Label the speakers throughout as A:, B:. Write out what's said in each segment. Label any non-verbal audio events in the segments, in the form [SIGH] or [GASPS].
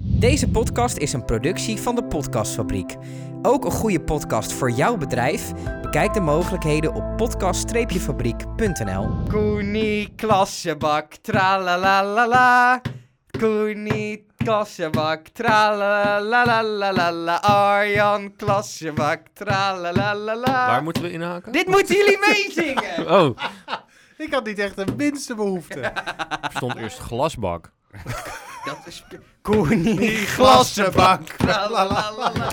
A: Deze podcast is een productie van de Podcastfabriek. Ook een goede podcast voor jouw bedrijf? Bekijk de mogelijkheden op podcast-fabriek.nl. Koenie klassenbak, tralalalala. Koenie klassenbak, tralalalala. Arjan klassenbak,
B: Waar
A: tralalalala.
B: moeten we inhaken?
A: Dit moeten jullie meezingen!
B: Oh,
C: Ik had niet echt de minste behoefte.
B: er stond eerst glasbak.
A: Dat is... Koenie
C: Klassenbak.
A: tralalalala.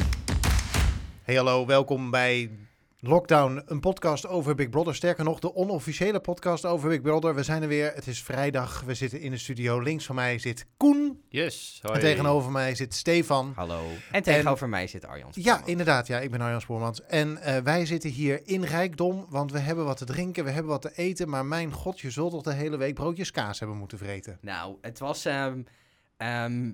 C: Hey hallo, welkom bij Lockdown, een podcast over Big Brother. Sterker nog, de onofficiële podcast over Big Brother. We zijn er weer, het is vrijdag, we zitten in de studio. Links van mij zit Koen
B: Yes.
C: en tegenover mij zit Stefan.
B: Hallo.
A: En tegenover mij zit Arjan.
C: Ja, inderdaad, ja, ik ben Arjan Spoormans. En eh, wij zitten hier in rijkdom, want we hebben wat te drinken, we hebben wat te eten. Maar mijn god, je zult toch de hele week broodjes kaas hebben moeten vreten.
A: Nou, het was. ehm, ehm,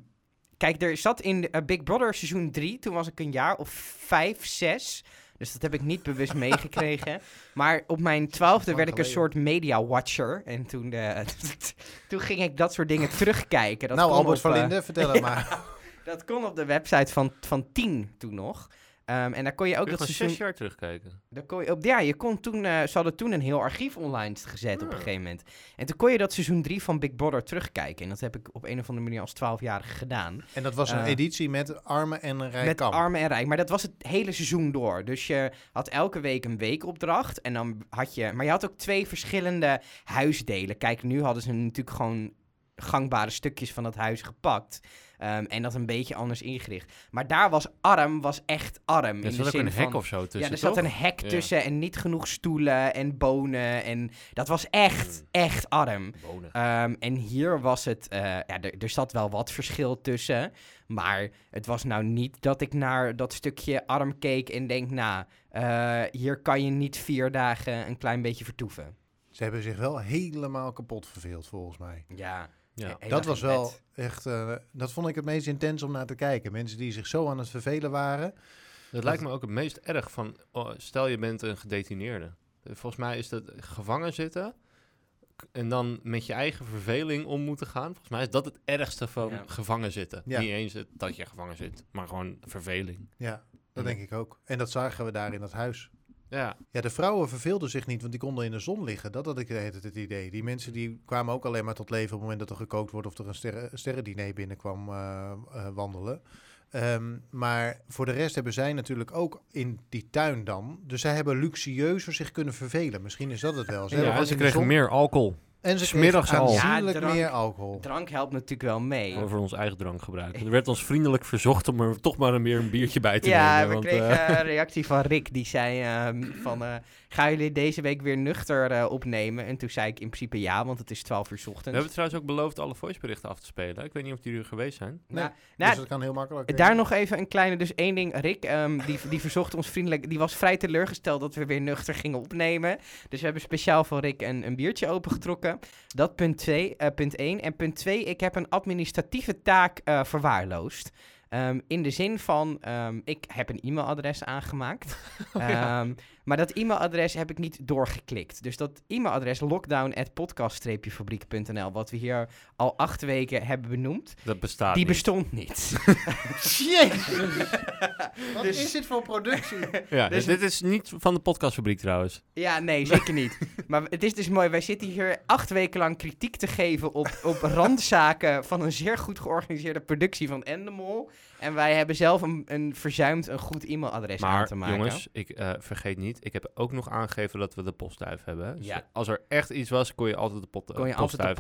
A: kijk, er zat in eh, Big Brother seizoen 3. Toen was ik een jaar of 5, 6. Dus dat heb ik niet
C: [LAUGHS]
A: bewust meegekregen. Maar op mijn twaalfde
C: Lang
A: werd ik een
C: geleden.
A: soort media watcher. En toen, eh, [LAUGHS] toen ging ik dat soort
C: [LAUGHS]
A: dingen terugkijken. Dat
C: nou,
A: kon
C: Albert
A: op,
C: van
A: eh, [LAUGHS]
C: Linden, vertel het maar.
A: dat kon op de website van, van 10 toen nog. Ehm, en daar kon je ook
B: Ook
A: dat
B: nog
A: seizoen.
B: zes jaar terugkijken.
A: Daar kon je op, ja, je kon toen, eh, ze hadden toen een heel archief online gezet
B: Ah.
A: op een gegeven moment. En toen kon je dat seizoen 3 van Big Brother terugkijken. En dat heb ik op een of andere manier als 12-jarige gedaan.
C: En dat was een
A: Eh,
C: editie met armen en rijk
A: met
C: kamp.
A: arm en rijk. Maar dat was het hele seizoen door. Dus je had elke week een weekopdracht. En dan had je. Maar je had ook twee verschillende huisdelen. Kijk, nu hadden ze natuurlijk gewoon gangbare stukjes van dat huis gepakt. ehm, en dat een beetje anders ingericht. Maar daar was arm, was echt arm. in
B: Er
A: de
B: zat ook
A: zin
B: een hek
A: van,
B: of zo tussen,
A: ja, er zat een hek
B: Ja.
A: tussen en niet genoeg stoelen en bonen. En dat was echt, echt arm.
B: Wonen.
A: Ehm, en hier was het, eh, ja, er- er zat wel wat verschil tussen. Maar het was nou niet dat ik naar dat stukje arm keek en denk, nou, eh, hier kan je niet vier dagen een klein beetje vertoeven.
C: Ze hebben zich wel helemaal kapot verveeld, volgens mij.
A: Ja,
B: Ja.
A: he-
C: dat
A: helemaal
C: was
A: in
C: wel
A: bed.
C: echt... eh, dat vond ik het meest intens om naar te kijken. Mensen die zich zo aan het vervelen waren.
B: Dat lijkt me ook het meest erg van, oh, stel je bent een gedetineerde. Volgens mij is dat gevangen zitten k- en dan met je eigen verveling om moeten gaan. Volgens mij is dat het ergste van
A: Ja.
B: gevangen zitten.
C: Ja.
B: Niet eens het, dat je gevangen zit, maar gewoon verveling.
C: Ja,
B: Ja.
C: dat denk ik ook. En dat zagen we daar in dat huis.
B: Ja,
C: Ja, de vrouwen verveelden zich niet, want die konden in de zon liggen. Dat had ik de hele tijd het idee. Die mensen die kwamen ook alleen maar tot leven op het moment dat er gekookt wordt... of er een sterren, sterrendiner binnenkwam eh, eh, wandelen. Ehm, maar voor de rest hebben zij natuurlijk ook in die tuin dan... dus zij hebben luxueuzer zich kunnen vervelen. Misschien is dat het wel. Ze hebben
B: ja
C: gewoon
B: ze
C: in de
B: kregen
C: zon-
B: meer alcohol
C: En ze
B: Smiddags
C: kregen
B: al.
C: aanzienlijk
A: Ja, drank.
C: meer alcohol.
A: Drank helpt natuurlijk wel mee.
B: over ons eigen drankgebruik.
A: [LAUGHS]
B: Er werd ons vriendelijk verzocht om er toch maar een, meer een biertje bij te
A: Ja,
B: nemen.
A: we
B: want,
A: kregen
B: eh, [LAUGHS]
A: eh, een reactie van Rick. Die zei ehm, van, eh, gaan jullie deze week weer nuchter eh, opnemen? En toen zei ik in principe ja, want het is 12 uur 's
B: We
A: ochtends.
B: hebben trouwens ook beloofd alle voiceberichten af te spelen. Ik weet niet of jullie er geweest zijn.
C: Nee,
A: Nou,
C: dus
A: nou,
C: dat kan heel makkelijk. denk
A: daar
C: ik.
A: nog even een kleine, dus één ding. Rick, ehm, die, die verzocht ons vriendelijk, die was vrij teleurgesteld dat we weer nuchter gingen opnemen. Dus we hebben speciaal voor Rick een, een biertje opengetrokken. Dat punt 2, punt 1. En punt 2, ik heb een administratieve taak eh, verwaarloosd. Ehm, in de zin van, ehm, ik heb een e-mailadres aangemaakt. Ehm, maar dat e-mailadres heb ik niet doorgeklikt. Dus dat e-mailadres lockdown.podcast-fabriek.nl, wat we hier al acht weken hebben benoemd,
B: Dat bestaat
A: die
B: niet.
A: bestond niet.
C: Wat
A: Dus-
C: is dit voor [LAUGHS] productie?
B: ja,
A: dus-
B: dus dit is niet van de podcastfabriek trouwens.
A: Ja,
B: [LAUGHS]
A: nee, zeker niet. Maar het is dus mooi. Wij zitten hier acht weken lang kritiek te geven op,
B: [LAUGHS]
A: op randzaken van een zeer goed georganiseerde productie van Endemol. En wij hebben zelf een, een verzuimd een goed e-mailadres aan
B: Maar
A: te maken.
B: jongens, ik eh, vergeet niet. Ik heb ook nog aangegeven dat we de postduif hebben. hè. Dus
A: Ja.
B: als er echt iets was, kon je altijd de pot,
A: kon je altijd de
B: postduif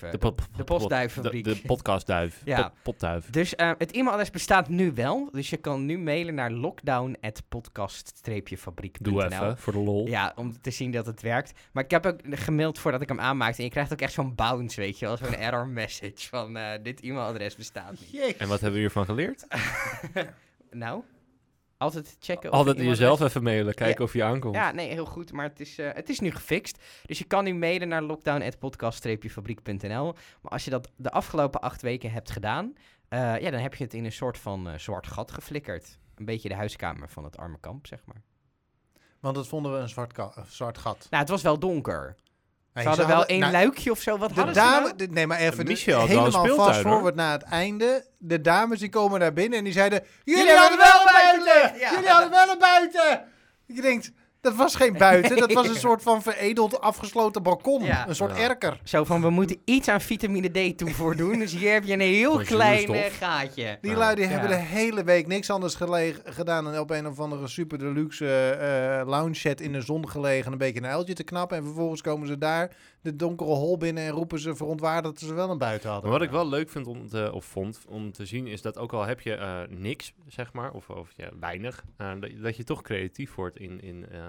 A: postduiven.
B: nog- po-
A: de
B: pot-
A: postduiffabriek.
B: De, de podcastduif.
A: [LAUGHS] Ja.
B: Pot- potduif.
A: Dus eh, het e-mailadres bestaat nu wel. Dus je kan nu mailen naar lockdown.podcast-fabriek.nl.
B: Doe even, voor de lol.
A: Ja, om te zien dat het werkt. Maar ik heb ook gemaild voordat ik hem aanmaakte. En je krijgt ook echt zo'n bounce, weet je wel.
B: [LAUGHS]
A: Zo'n error message van eh, dit e-mailadres bestaat niet.
B: En wat hebben we hiervan geleerd?
A: [LAUGHS] Nou, altijd checken. of
B: Altijd
A: je
B: jezelf
A: e-mailadres-
B: even mailen, kijken of je aankomt.
A: Ja, nee, heel goed. Maar het is, eh, het is nu gefixt. Dus je kan nu mailen naar lockdown.podcast-fabriek.nl. Maar als je dat de afgelopen acht weken hebt gedaan... eh, ja, dan heb je het in een soort van eh, zwart gat geflikkerd. Een beetje de huiskamer van het arme kamp, zeg maar.
C: Want dat vonden we een zwart, ka- eh, zwart gat.
A: Nou, het was wel donker. Ze
C: Nee,
A: hadden wel één
C: nou,
A: luikje of zo. Wat
C: De
A: hadden ze
C: dame,
A: nou?
C: de- nee, maar even de-
B: Michel had wel een
C: helemaal
B: speeltuin,
C: vast
B: hoor.
C: forward naar het einde. De dames die komen naar binnen en die zeiden: Jullie,
A: Jullie
C: hadden
A: hadden
C: wel
A: wel
C: een buiten!
A: buiten! Ja.
C: Jullie hadden wel een buiten! Je denkt: Dat was geen
A: [LAUGHS]
C: buiten, dat was een soort van veredeld afgesloten balkon.
A: Ja.
C: Een soort
B: Ja.
C: erker.
A: Zo van, we moeten iets aan vitamine D toevoor doen. Dus hier heb je een heel
B: Wat
A: klein eh,
B: zuurstof.
A: gaatje.
C: Die
B: Nou, Ja.
C: lui die
A: Ja.
C: hebben de hele week niks anders gele- gedaan dan op een of andere super deluxe eh, eh, lounge set in de zon gelegen. en Een beetje een uiltje te knappen. En vervolgens komen ze daar de donkere hol binnen en roepen ze verontwaardigd dat ze wel een buiten hadden.
B: Maar wat ik wel leuk vind om te, of vond om te zien, is dat ook al heb je eh, niks, zeg maar, of, of ja, weinig, eh, dat, dat je toch creatief wordt in, in, eh,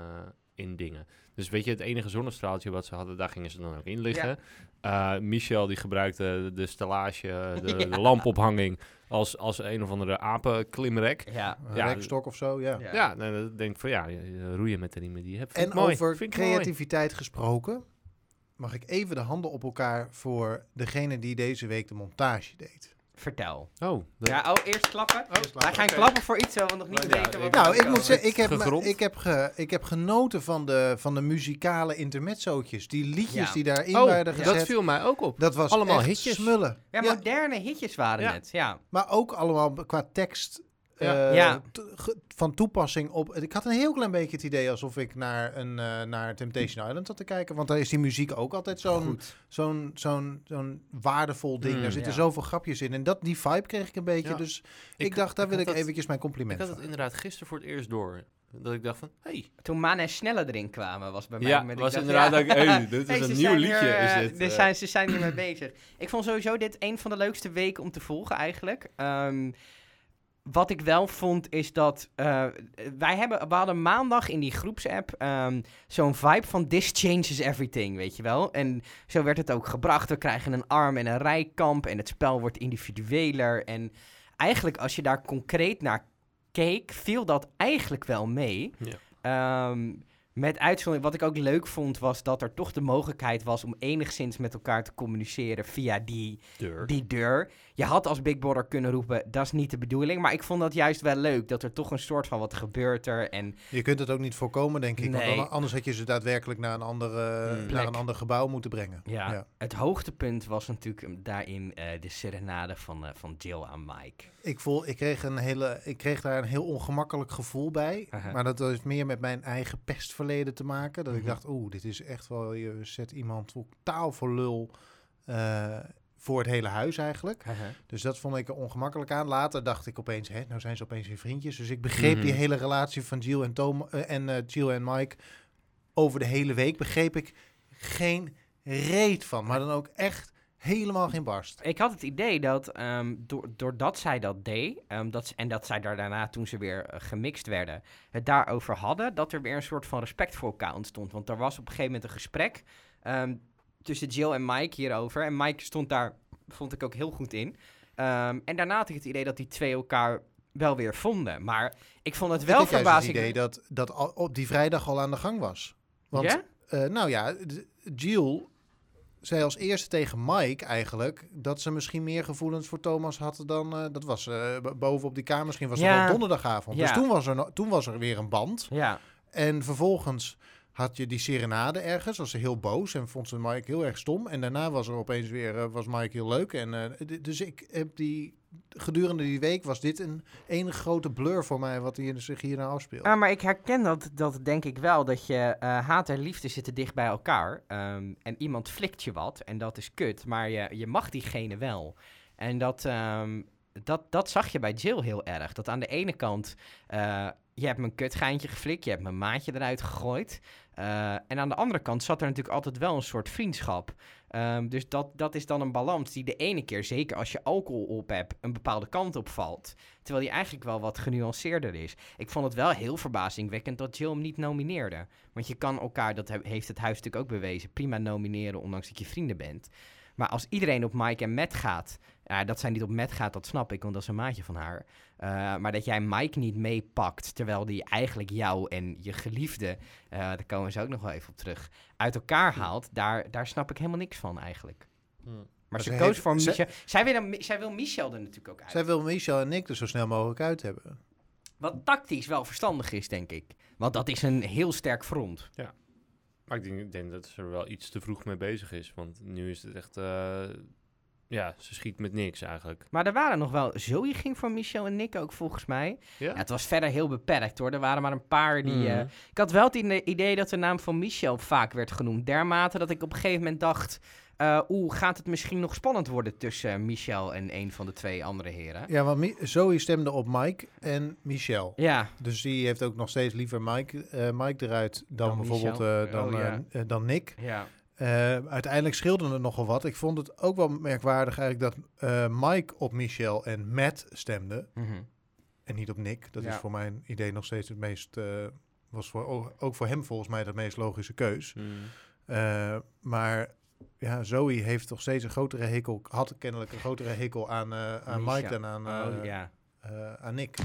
B: in dingen. Dus weet je, het enige zonnestraaltje wat ze hadden, daar gingen ze dan ook in liggen. Eh, Michel die gebruikte de stellage,
C: [LAUGHS]
B: de, de
A: Ja.
B: lampophanging als, als een of andere apenklimrek.
A: Ja.
C: Een
B: Ja.
C: rekstok of zo, ja.
A: Ja.
B: Ja, nou, dan denk ik van ja, roeien met de riemen die je hebt. Vind
C: En
B: ik mooi.
C: over
B: Vind ik mooi.
C: creativiteit gesproken, mag ik even de handen op elkaar voor degene die deze week de montage deed.
A: Vertel.
B: Oh, dat-
A: Ja, oh, eerst klappen. Wij gaan
C: Oké.
A: klappen voor iets, eh, want nog niet
B: Ja,
A: weten wat
B: ik-
A: er
C: Nou,
A: gaat
C: ik moet
A: komen.
C: zeggen, ik heb, me-
B: Gegrond.
C: ik heb, ge- ik heb genoten van de, van de muzikale intermezzootjes. Die liedjes
A: Ja.
C: die daarin
B: Oh,
C: werden gezet.
B: dat viel mij ook op.
C: Dat was
B: Allemaal
C: echt
B: hitjes.
C: smullen.
A: Ja,
C: Ja,
A: moderne hitjes waren
B: Ja.
A: het. Ja.
C: maar ook allemaal b- qua tekst
B: Ja.
C: eh,
A: Ja.
C: t- ge- van toepassing op... Ik had een heel klein beetje het idee alsof ik naar, een, eh, naar Temptation Island zat te kijken. Want daar is die muziek ook altijd zo'n
A: Goed.
C: zo'n zo'n zo'n waardevol ding.
B: Mm.
C: daar zitten
A: Ja.
C: zoveel grapjes in. En dat, die vibe kreeg ik een beetje.
B: Ja.
C: Dus ik,
B: Ik-
C: dacht, daar
B: ik
C: wil ik
B: had dat-
C: eventjes mijn
B: Ik
C: compliment
B: had het
C: van.
B: inderdaad gisteren voor het eerst door. Dat ik dacht van, hey,
A: Toen Maan en Snelle erin kwamen, was bij mij...
B: Ja,
A: het moment
B: was
A: dat ik dacht,
B: inderdaad
A: ja.
B: ook, hey, dit
A: [LAUGHS]
B: is
A: Hey,
B: een
A: ze
B: nieuw
A: zijn
B: liedje,
A: hier, eh,
B: is dit,
A: er
B: eh.
A: zijn, ze zijn hiermee bezig. Ik vond sowieso dit een van de leukste weken om te volgen eigenlijk. Ehm, wat ik wel vond is dat eh, wij hebben, we hadden maandag in die groepsapp ehm, zo'n vibe van this changes everything, weet je wel. En zo werd het ook gebracht. We krijgen een arm en een rijkamp en het spel wordt individueler. En eigenlijk als je daar concreet naar keek, viel dat eigenlijk wel mee.
B: Ja.
A: Ehm, met uitzondering, wat ik ook leuk vond, was dat er toch de mogelijkheid was om enigszins met elkaar te communiceren via die
B: deur.
A: die deur. Je had als Big Brother kunnen roepen, dat is niet de bedoeling. Maar ik vond dat juist wel leuk, dat er toch een soort van wat gebeurt er. En
C: Je kunt het ook niet voorkomen, denk ik. Want
A: Nee. Hmm.
C: dan- anders had je ze daadwerkelijk naar een, andere,
B: Mm.
C: naar
A: Plek.
C: een ander gebouw moeten brengen.
A: ja. het hoogtepunt was natuurlijk um, daarin eh, de serenade van, eh, van Jill aan Mike.
C: Ik, voel, ik, kreeg een hele, ik kreeg daar een heel ongemakkelijk gevoel bij.
A: Aha.
C: Maar dat heeft meer met mijn eigen pestverleden te maken. Dat
A: Mhm.
C: ik dacht, oeh, dit is echt wel... Je zet iemand totaal voor lul eh, voor het hele huis eigenlijk. Dus dat vond ik er ongemakkelijk aan. Later dacht ik opeens, hè, nou zijn ze opeens weer vriendjes. Dus ik begreep
B: Mhm.
C: die hele relatie van Jill en, Tom, eh, en eh, Jill en Mike. Over de hele week begreep ik geen reet van. Maar dan ook echt helemaal geen barst.
A: Ik had het idee dat ehm, door, doordat zij dat deed, ehm, dat, ze- en dat zij daar daarna toen ze weer eh, gemixt werden, het daarover hadden, dat er weer een soort van respect voor elkaar ontstond. Want er was op een gegeven moment een gesprek ehm, tussen Jill en Mike hierover. En Mike stond daar, vond ik ook heel goed in. Ehm, en daarna had ik het idee dat die twee elkaar wel weer vonden. Maar ik vond het wel
C: ik heb juist het
A: verbazing.
C: idee dat dat al op die vrijdag al aan de gang was. Want
A: Ja?
C: eh, nou ja, d- Jill zei als eerste tegen Mike eigenlijk dat ze misschien meer gevoelens voor Thomas had dan eh, dat was eh, b- boven op die kamer. Misschien was
A: Ja.
C: dat al donderdagavond. Dus
A: Ja.
C: toen was er no- toen was er weer een band.
A: Ja,
C: En vervolgens had je die serenade ergens, was ze heel boos en vond ze Mike heel erg stom. En daarna was er opeens weer, eh, was Mike heel leuk. En, eh, d- dus ik heb die, gedurende die week was dit een enige grote blur voor mij wat hier, zich hierna afspeelt.
A: Ah, maar ik herken dat, dat denk ik wel, dat je eh, haat en liefde zitten dicht bij elkaar. ehm, en iemand flikt je wat en dat is kut, maar je, je mag diegene wel. En dat, ehm, dat, dat zag je bij Jill heel erg. Dat aan de ene kant, eh, je hebt mijn kutgeintje geflikt, je hebt mijn maatje eruit gegooid. Eh, en aan de andere kant zat er natuurlijk altijd wel een soort vriendschap. Ehm, dus dat, dat is dan een balans die de ene keer, zeker als je alcohol op hebt, een bepaalde kant op valt. Terwijl die eigenlijk wel wat genuanceerder is. Ik vond het wel heel verbazingwekkend dat Jill hem niet nomineerde. Want je kan elkaar, dat he- heeft het huis natuurlijk ook bewezen, prima nomineren, ondanks dat je vrienden bent. Maar als iedereen op Mike en Matt gaat, ja, dat zij niet op Matt gaat, dat snap ik, want dat is een maatje van haar. Eh, maar dat jij Mike niet meepakt, terwijl die eigenlijk jou en je geliefde, eh daar komen ze ook nog wel even op terug, uit elkaar haalt, daar, daar snap ik helemaal niks van eigenlijk.
B: Hmm.
A: Maar
C: Maar
A: ze
C: ze
A: koos
C: heeft-
A: voor
C: ze-
A: Michel. Zij wil, hem- zij wil Michel er natuurlijk ook uit.
C: Zij wil Michel en ik er zo snel mogelijk uit hebben.
A: Wat tactisch wel verstandig is, denk ik. Want dat is een heel sterk front.
B: Maar ik denk, ik denk dat ze er wel iets te vroeg mee bezig is. Want nu is het echt... eh, ja, ze schiet met niks eigenlijk.
A: Maar er waren nog wel... Zoe ging voor Michel en Nick ook, volgens mij. Ja, het was verder heel beperkt, hoor. Er waren maar een paar die... eh,
B: Mhm.
A: Ik had wel het ide- idee dat de naam van Michel vaak werd genoemd. Dermate dat ik op een gegeven moment dacht... eh, Oeh, gaat het misschien nog spannend worden tussen Michel en een van de twee andere heren?
C: Ja, want Mi- Zoe stemde op Mike en Michel.
A: Ja,
C: Dus die heeft ook nog steeds liever Mike, eh, Mike eruit dan,
A: Dan
C: bijvoorbeeld
A: Michel.
C: eh, dan,
A: Oh, ja.
C: eh, eh, dan Nick.
A: ja.
C: Eh, uiteindelijk scheelde het nogal wat. Ik vond het ook wel merkwaardig eigenlijk dat eh, Mike op Michel en Matt stemde.
A: Mhm.
C: En niet op Nick. Dat
A: Ja.
C: is voor mijn idee nog steeds het meest... eh, was voor, ook- ook voor hem volgens mij de meest logische keus.
B: Mm.
C: Eh, maar ja, Zoe heeft toch steeds een grotere hekel... had kennelijk een grotere hekel aan, eh, aan
A: Michel.
C: Mike dan aan, eh,
A: Oh, ja.
C: eh, aan Nick.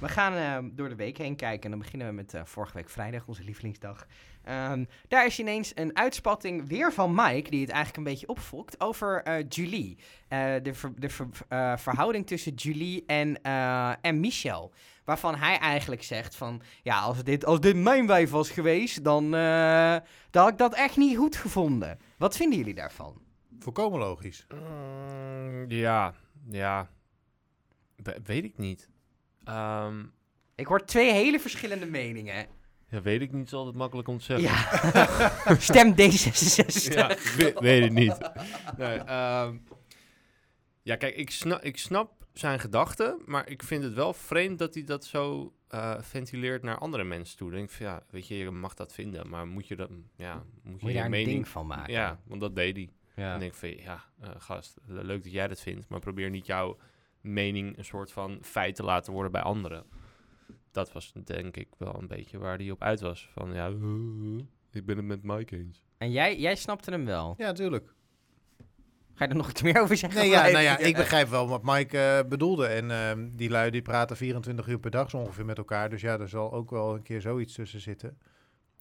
A: We gaan eh, door de week heen kijken. En dan beginnen we met eh, vorige week vrijdag, onze lievelingsdag. Ehm, daar is ineens een uitspatting weer van Mike, die het eigenlijk een beetje opfokt, over eh, Julie. Eh, de ver- de ver- eh, verhouding tussen Julie en, eh, en Michel. Waarvan hij eigenlijk zegt van, ja, als dit, als dit mijn wijf was geweest, dan, eh, dan had ik dat echt niet goed gevonden. Wat vinden jullie daarvan?
C: Volkomen logisch.
B: Mm, ja, ja. We- weet ik niet. Ehm,
A: Ik hoor twee hele verschillende meningen.
B: ja, weet ik niet is altijd makkelijk om te zeggen.
A: Ja, [LAUGHS] stem D66.
B: Ja, we- weet het niet. Nee, ehm, ja, kijk, ik snap, ik snap zijn gedachten, maar ik vind het wel vreemd dat hij dat zo eh, ventileert naar andere mensen toe. Dan denk ik van, ja, weet je, je mag dat vinden, maar moet je dat, ja, moet je,
A: Moet je
B: je
A: daar een
B: mening...
A: ding van maken.
B: Ja, want dat deed hij. Dan denk ik van, ja, eh, gast, le- leuk dat jij dat vindt, maar probeer niet jouw mening een soort van feit te laten worden bij anderen. Dat was denk ik wel een beetje waar hij op uit was. Van ja, [LAUGHS] ik ben het met Mike eens.
A: En jij, jij snapte hem wel.
C: Ja, [LAUGHS] tuurlijk.
A: Ga je er nog iets meer over zeggen?
C: Nee, ja,
A: Mike?
C: nou
A: [LAUGHS]
C: [LAUGHS] ja, ik begrijp wel wat Mike eh, bedoelde. En ehm, die lui die praten 24 uur per dag zo ongeveer met elkaar. Dus ja, er zal ook wel een keer zoiets tussen zitten.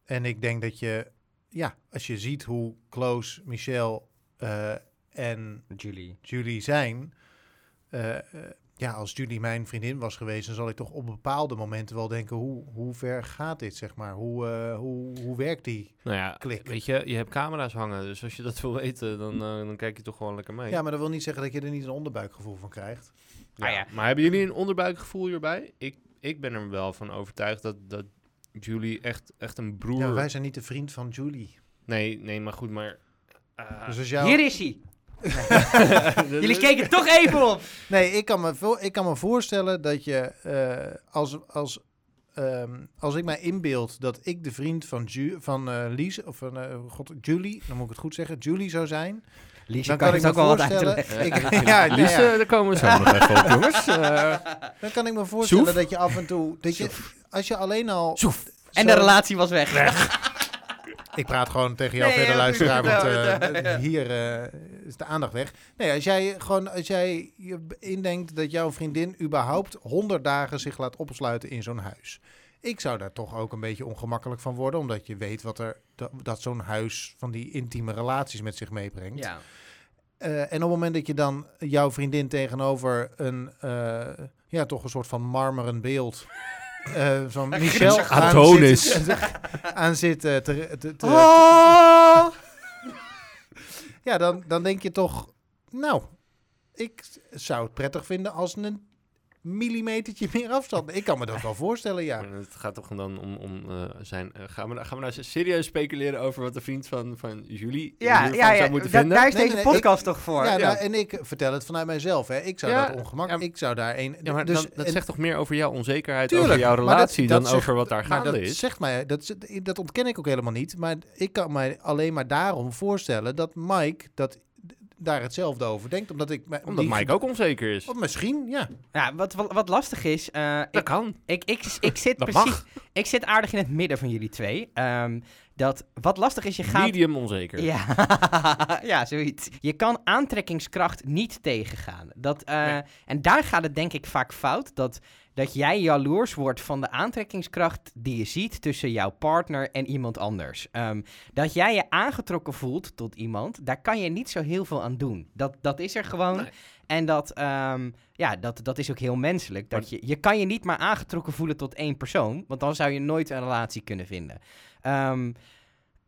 C: En ik denk dat je, ja, als je ziet hoe close Michel eh, en
A: Julie.
C: Julie zijn. eh, eh, ja, als Julie mijn vriendin was geweest, dan zal ik toch op bepaalde momenten wel denken: hoe, hoe ver gaat dit, zeg maar? Hoe, eh, hoe, hoe werkt die?
B: Nou ja,
C: Klik.
B: weet je, je hebt camera's hangen, dus als je dat [LAUGHS] wil weten, dan, eh, dan kijk je toch gewoon lekker mee. Nou
C: Ja, maar dat wil niet zeggen dat je er niet een onderbuikgevoel van krijgt.
B: Ja.
A: Ah ja.
B: Maar hebben jullie een onderbuikgevoel hierbij? Ik, ik ben er wel van overtuigd dat, dat Julie echt, echt een broer...
C: Ja, maar wij zijn niet de vriend van Julie.
B: Nee, nee, maar goed, maar... eh,
C: Dus als jou...
A: Hier is hij. Jullie keken toch even op.
C: Nee, ik kan me, vo- ik kan me voorstellen dat je eh, als, als, ehm, als ik mij inbeeld dat ik de vriend van, Ju van eh, Lies, of van eh, God, Julie, dan moet ik het goed zeggen, Julie zou zijn.
A: Lies,
C: Dan kan, ik me voorstellen. ik- ja, nou
B: Lies,
C: ja,
B: eh, daar komen we zo [LAUGHS] nog even op, jongens. Eh,
C: dan kan ik me voorstellen
B: Soef.
C: dat je af en toe. Dat je, als je alleen al.
A: En de
C: zo-
A: relatie was weg.
C: Ik praat gewoon tegen jou
A: Nee,
C: verder,
A: ja,
C: luisteraar, want
A: precies. Nou, Ja,
C: eh,
A: ja.
C: hier eh, is de aandacht weg. Nee, als jij gewoon, als jij je b- indenkt dat jouw vriendin überhaupt 100 dagen zich laat opsluiten in zo'n huis. Ik zou daar toch ook een beetje ongemakkelijk van worden, omdat je weet wat er, dat, dat zo'n huis van die intieme relaties met zich meebrengt.
A: Ja.
C: Eh, en op het moment dat je dan jouw vriendin tegenover een, eh, ja, toch een soort van marmeren beeld eh,
A: [LAUGHS]
C: van Michel
A: Griekse
C: aan
B: Adonis.
C: zit, aan zit eh, te, te, te-
A: Oh!
C: ja, dan, dan denk je toch, nou, ik s- zou het prettig vinden als een millimetertje meer afstand. Ik kan me dat wel voorstellen, ja.
B: maar Het gaat toch dan om, om eh, zijn... eh, gaan, we, gaan we nou serieus speculeren over wat de vriend van, van Julie
A: Ja,
B: hiervan
A: ja, ja.
B: zou moeten
A: da-
B: vinden?
A: daar is
C: Nee,
A: deze
C: nee, nee,
A: podcast toch voor.
C: Ja,
A: Ja,
B: ja.
C: nou, en ik vertel het vanuit mijzelf. Hè. Ik zou
B: Ja,
C: dat ongemak,
B: ja,
C: ik zou daar een...
B: Ja, maar
C: dus,
B: dat, dat
C: en-
B: zegt toch meer over jouw onzekerheid
C: Tuurlijk,
B: over jouw
C: maar dat-
B: relatie
C: dat
B: dan
C: zegt-
B: over wat daar
C: maar
B: gaande
C: dat
B: is?
C: zegt mij, dat, is- dat ontken ik ook helemaal niet. Maar ik kan mij alleen maar daarom voorstellen dat Mike dat, daar hetzelfde over denkt. Omdat ik... mij-
B: Omdat
C: die-
B: Mike ook onzeker is.
C: Of misschien, ja.
A: wat, wat, wat lastig is, eh,
B: Dat
A: ik,
B: kan.
A: ik, ik, ik zit
B: Dat
A: precies,
B: mag.
A: ik zit aardig in het midden van jullie twee. Ehm, dat, wat lastig is, je gaat
B: Medium onzeker.
A: Ja, [LAUGHS] ja, zoiets. Je kan aantrekkingskracht niet tegengaan. Dat, eh,
B: Nee.
A: En daar gaat het denk ik vaak fout. Dat dat jij jaloers wordt van de aantrekkingskracht die je ziet tussen jouw partner en iemand anders. Ehm, dat jij je aangetrokken voelt tot iemand, daar kan je niet zo heel veel aan doen. Dat, dat is er gewoon.
B: Nee.
A: En dat, ehm, ja, dat, dat is ook heel menselijk. Dat je, je kan je niet maar aangetrokken voelen tot één persoon, want dan zou je nooit een relatie kunnen vinden. Ehm,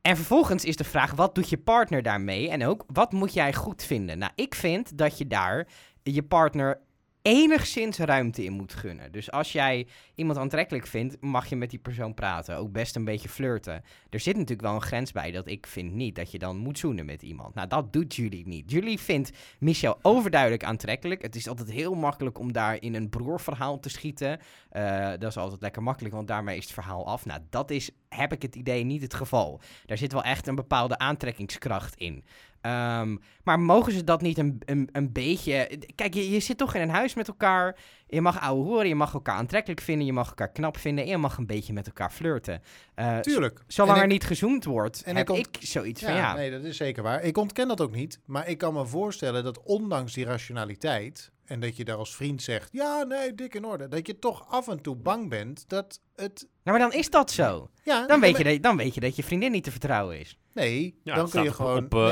A: en vervolgens is de vraag, wat doet je partner daarmee? En ook, wat moet jij goed vinden? Nou, ik vind dat je daar je partner enigszins ruimte in moet gunnen. Dus als jij iemand aantrekkelijk vindt, mag je met die persoon praten. Ook best een beetje flirten. Er zit natuurlijk wel een grens bij dat ik vind niet dat je dan moet zoenen met iemand. Nou, dat doet jullie niet. Jullie vindt Michel overduidelijk aantrekkelijk. Het is altijd heel makkelijk om daar in een broerverhaal te schieten. Eh, dat is altijd lekker makkelijk, want daarmee is het verhaal af. Nou, dat is, heb ik het idee, niet het geval. Daar zit wel echt een bepaalde aantrekkingskracht in. Ehm, maar mogen ze dat niet een, een, een beetje... Kijk, je, je zit toch in een huis met elkaar. Je mag ouwe horen, je mag elkaar aantrekkelijk vinden, je mag elkaar knap vinden... en je mag een beetje met elkaar flirten. Eh,
C: Tuurlijk.
A: Zolang
C: En
A: er
C: ik-
A: niet gezoend wordt,
C: en
A: heb
C: ik ont-
A: ik zoiets
C: Ja,
A: van ja.
C: nee, dat is zeker waar. Ik ontken dat ook niet. Maar ik kan me voorstellen dat ondanks die rationaliteit... en dat je daar als vriend zegt... ja, nee, dik in orde. Dat je toch af en toe bang bent dat het...
A: Nou, maar dan is dat zo.
C: Ja,
A: Dan weet, je dat, dan weet je dat je vriendin niet te vertrouwen is.
C: Nee,
B: Ja, het
C: dan kun
B: staat
C: je
B: op-
C: gewoon...
B: Op eh,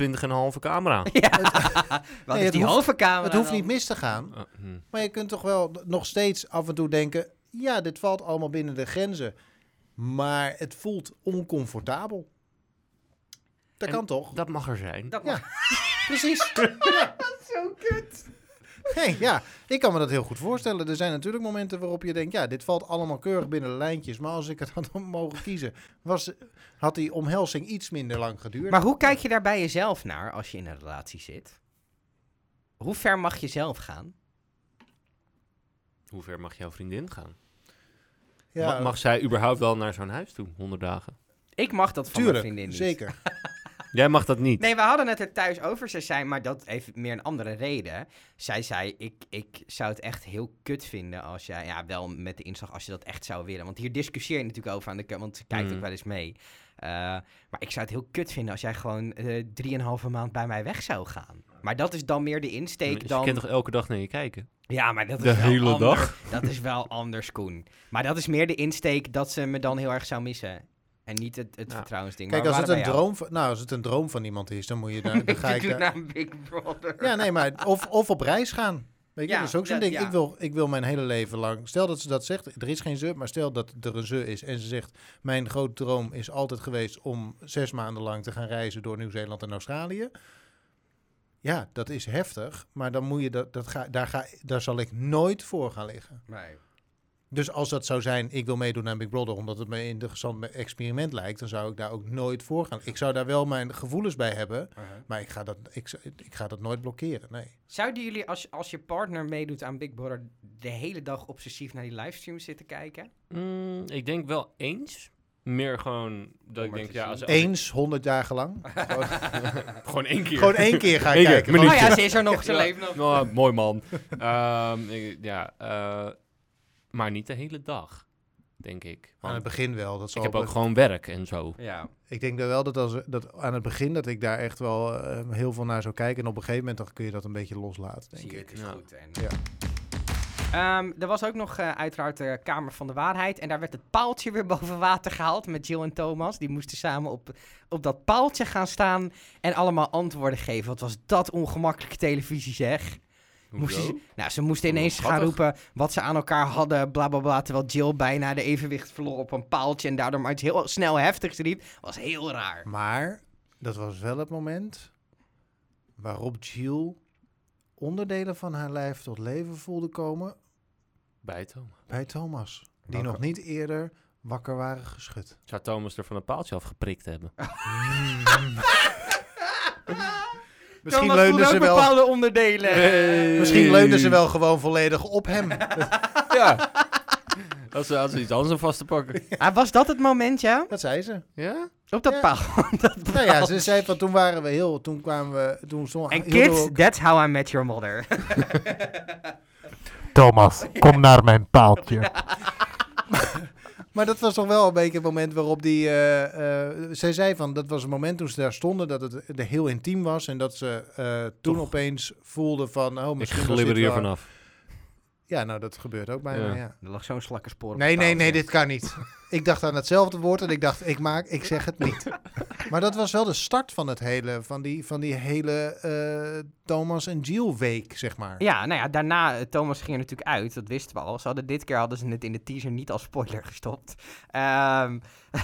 C: nee, het-
B: 28,5
C: [LAUGHS]
B: camera.
A: Wat
C: Nee,
A: is
C: het
A: die
C: hoeft-
A: hoofdcamera
C: Het hoeft
A: dan?
C: niet mis te gaan.
B: Eh, hm.
C: Maar je kunt toch wel nog steeds af en toe denken... ja, dit valt allemaal binnen de grenzen. Maar het voelt oncomfortabel. Dat
B: En
C: kan toch?
B: Dat mag er zijn.
A: Dat
C: Ja.
A: mag-
C: [LAUGHS] Precies.
A: Zo kut.
C: Nee, ja, ik kan me dat heel goed voorstellen. Er zijn natuurlijk momenten waarop je denkt... ja, dit valt allemaal keurig binnen de lijntjes. Maar als ik het [LAUGHS] had mogen kiezen... Was, had die omhelzing iets minder lang geduurd.
A: Maar hoe kijk je daar bij jezelf naar als je in een relatie zit? Hoe ver mag je zelf gaan?
B: Hoe ver mag jouw vriendin gaan?
C: ja,
B: Ma- mag zij überhaupt wel naar zo'n huis toe? 100 dagen.
A: Ik mag dat van mijn vriendin
C: tuurlijk,
A: niet.
C: zeker.
B: Jij mag dat niet.
A: Nee, we hadden het er thuis over. Zij zei, maar dat heeft meer een andere reden. Zij zei, ik, ik zou het echt heel kut vinden als jij... Ja, wel met de inslag als je dat echt zou willen. Want hier discussieer je natuurlijk over aan de kant, want ze kijkt
B: Mhm.
A: ook wel eens mee. Eh, maar ik zou het heel kut vinden als jij gewoon eh, drieënhalve maand bij mij weg zou gaan. Maar dat is dan meer de insteek
B: Ze
A: dan...
B: kent toch elke dag naar je kijken?
A: Ja, maar dat is
B: De
A: wel
B: hele
A: ander-
B: dag?
A: Dat is wel anders, Koen. Maar dat is meer de insteek dat ze me dan heel erg zou missen. En niet het, het
B: Ja.
A: vertrouwensding.
C: Kijk,
A: Maar
C: als
A: we
C: het, een
A: waren bij jou.
C: droom van, nou, als het een droom van iemand is... dan, moet je daar,
A: [LAUGHS]
C: dan ga ik
A: Natuurlijk
C: eh, daar...
A: naar een Big Brother.
C: Ja, nee, maar of, of op reis gaan. Weet je,
A: Ja,
C: dat is ook zo'n
A: ja,
C: ding.
A: ja.
C: Ik, wil, ik wil mijn hele leven lang... Stel dat ze dat zegt, er is geen ze, maar stel dat er een ze is... en ze zegt, mijn grote droom is altijd geweest... om zes maanden lang te gaan reizen door Nieuw-Zeeland en Australië. Ja, dat is heftig, maar dan moet je dat, dat ga, daar, ga, daar zal ik nooit voor gaan liggen.
A: Nee.
C: Dus als dat zou zijn, ik wil meedoen aan Big Brother... omdat het me een interessant experiment lijkt... dan zou ik daar ook nooit voor gaan. Ik zou daar wel mijn gevoelens bij hebben...
A: Uh-huh.
C: maar ik ga dat, ik, ik ga dat nooit blokkeren, nee.
A: Zouden jullie als, als je partner meedoet aan Big Brother de hele dag obsessief naar die livestream zitten kijken?
B: Mm, ik denk wel eens. Meer gewoon dat ik
A: maar
B: denk,
A: te
B: ja,
A: zien.
B: als, als ik-
C: Eens, honderd dagen lang. Gewoon,
B: gewoon één keer.
C: gewoon één
B: [LAUGHS]
C: keer ga ik
B: Eén keer,
C: kijken.
B: minuut.
A: Oh
B: Minuutje.
A: ja, ze is er [LAUGHS] nog, ze
B: Ja.
A: leeft
B: [LAUGHS]
A: nog.
B: Nou, mooi man. Ehm, ik- ja, eh, maar niet de hele dag, denk ik.
C: Aan het
B: Want
C: begin wel. Dat
B: ik
C: zal
B: heb
C: wel-
B: ook gewoon werk en zo.
A: Ja.
C: ik denk dat wel dat, als, dat aan het begin dat ik daar echt wel eh, heel veel naar zou kijken. En op een gegeven moment dan kun je dat een beetje loslaten, denk
A: Zie je,
C: ik.
A: het is
B: Ja.
A: goed. En... Ehm, er was ook nog eh, uiteraard de Kamer van de Waarheid. En daar werd het paaltje weer [LAUGHS] boven water gehaald met Jill en Thomas. Die moesten samen op, op dat paaltje gaan staan en allemaal antwoorden geven. Wat was dat ongemakkelijke televisie, zeg. Moesten ze, nou, ze moesten
B: Oh,
A: ineens
B: wat
A: gaan
B: grappig.
A: roepen wat ze aan elkaar hadden, bla bla bla. Terwijl Jill bijna de evenwicht verloor op een paaltje en daardoor maar iets heel snel heftigs riep. was heel raar.
C: Maar dat was wel het moment waarop Jill onderdelen van haar lijf tot leven voelde komen
B: Bij Thomas.
C: bij Thomas. Die
A: Wakker.
C: nog niet eerder wakker waren geschud.
B: Zou Thomas er van een paaltje afgeprikt hebben?
C: Misschien
A: Ah, Thomas voelde
C: leunden ze
A: ook
C: wel-
A: bepaalde onderdelen.
C: Misschien leunden ze [LAUGHS] wel gewoon volledig op
B: [LAUGHS]
C: hem.
B: Ja. Als ze, als ze iets anders om vast te pakken.
A: [LAUGHS] Ah, was dat het moment, ja?
C: Dat zei ze.
B: Ja?
A: Op dat
C: Ja.
A: paal.
C: [LAUGHS] Nou ja, ze zei van toen waren we heel, toen kwamen we, toen stond
A: En
C: hielden we-
A: kids, that's how I met your mother. [LAUGHS]
D: Thomas, kom naar mijn paaltje.
C: Maar dat was toch wel een beetje het moment waarop die. eh, eh, zij zei van dat was het moment toen ze daar stonden dat het eh, heel intiem was. En dat ze eh, toen
B: Toch.
C: opeens voelden van. Oh,
B: Ik
C: misschien was dit
B: glibber hier
C: wel-
B: vanaf.
C: Ja, nou, dat gebeurt ook bijna,
B: Ja.
C: ja.
A: Er lag zo'n slakkerspoor op
C: Nee,
A: de
C: nee,
A: tafel.
C: nee, dit kan
B: [LAUGHS]
C: niet. Ik dacht aan hetzelfde woord en ik dacht, ik maak, ik zeg het niet. [LAUGHS] Maar dat was wel de start van het hele, van die, van die hele eh, Thomas en Jill week, zeg maar.
A: Ja, nou ja, daarna, eh, Thomas ging er natuurlijk uit, dat wisten we al. Ze hadden, dit keer hadden ze het in de teaser niet als spoiler [LAUGHS] gestopt. Ehm, [LAUGHS]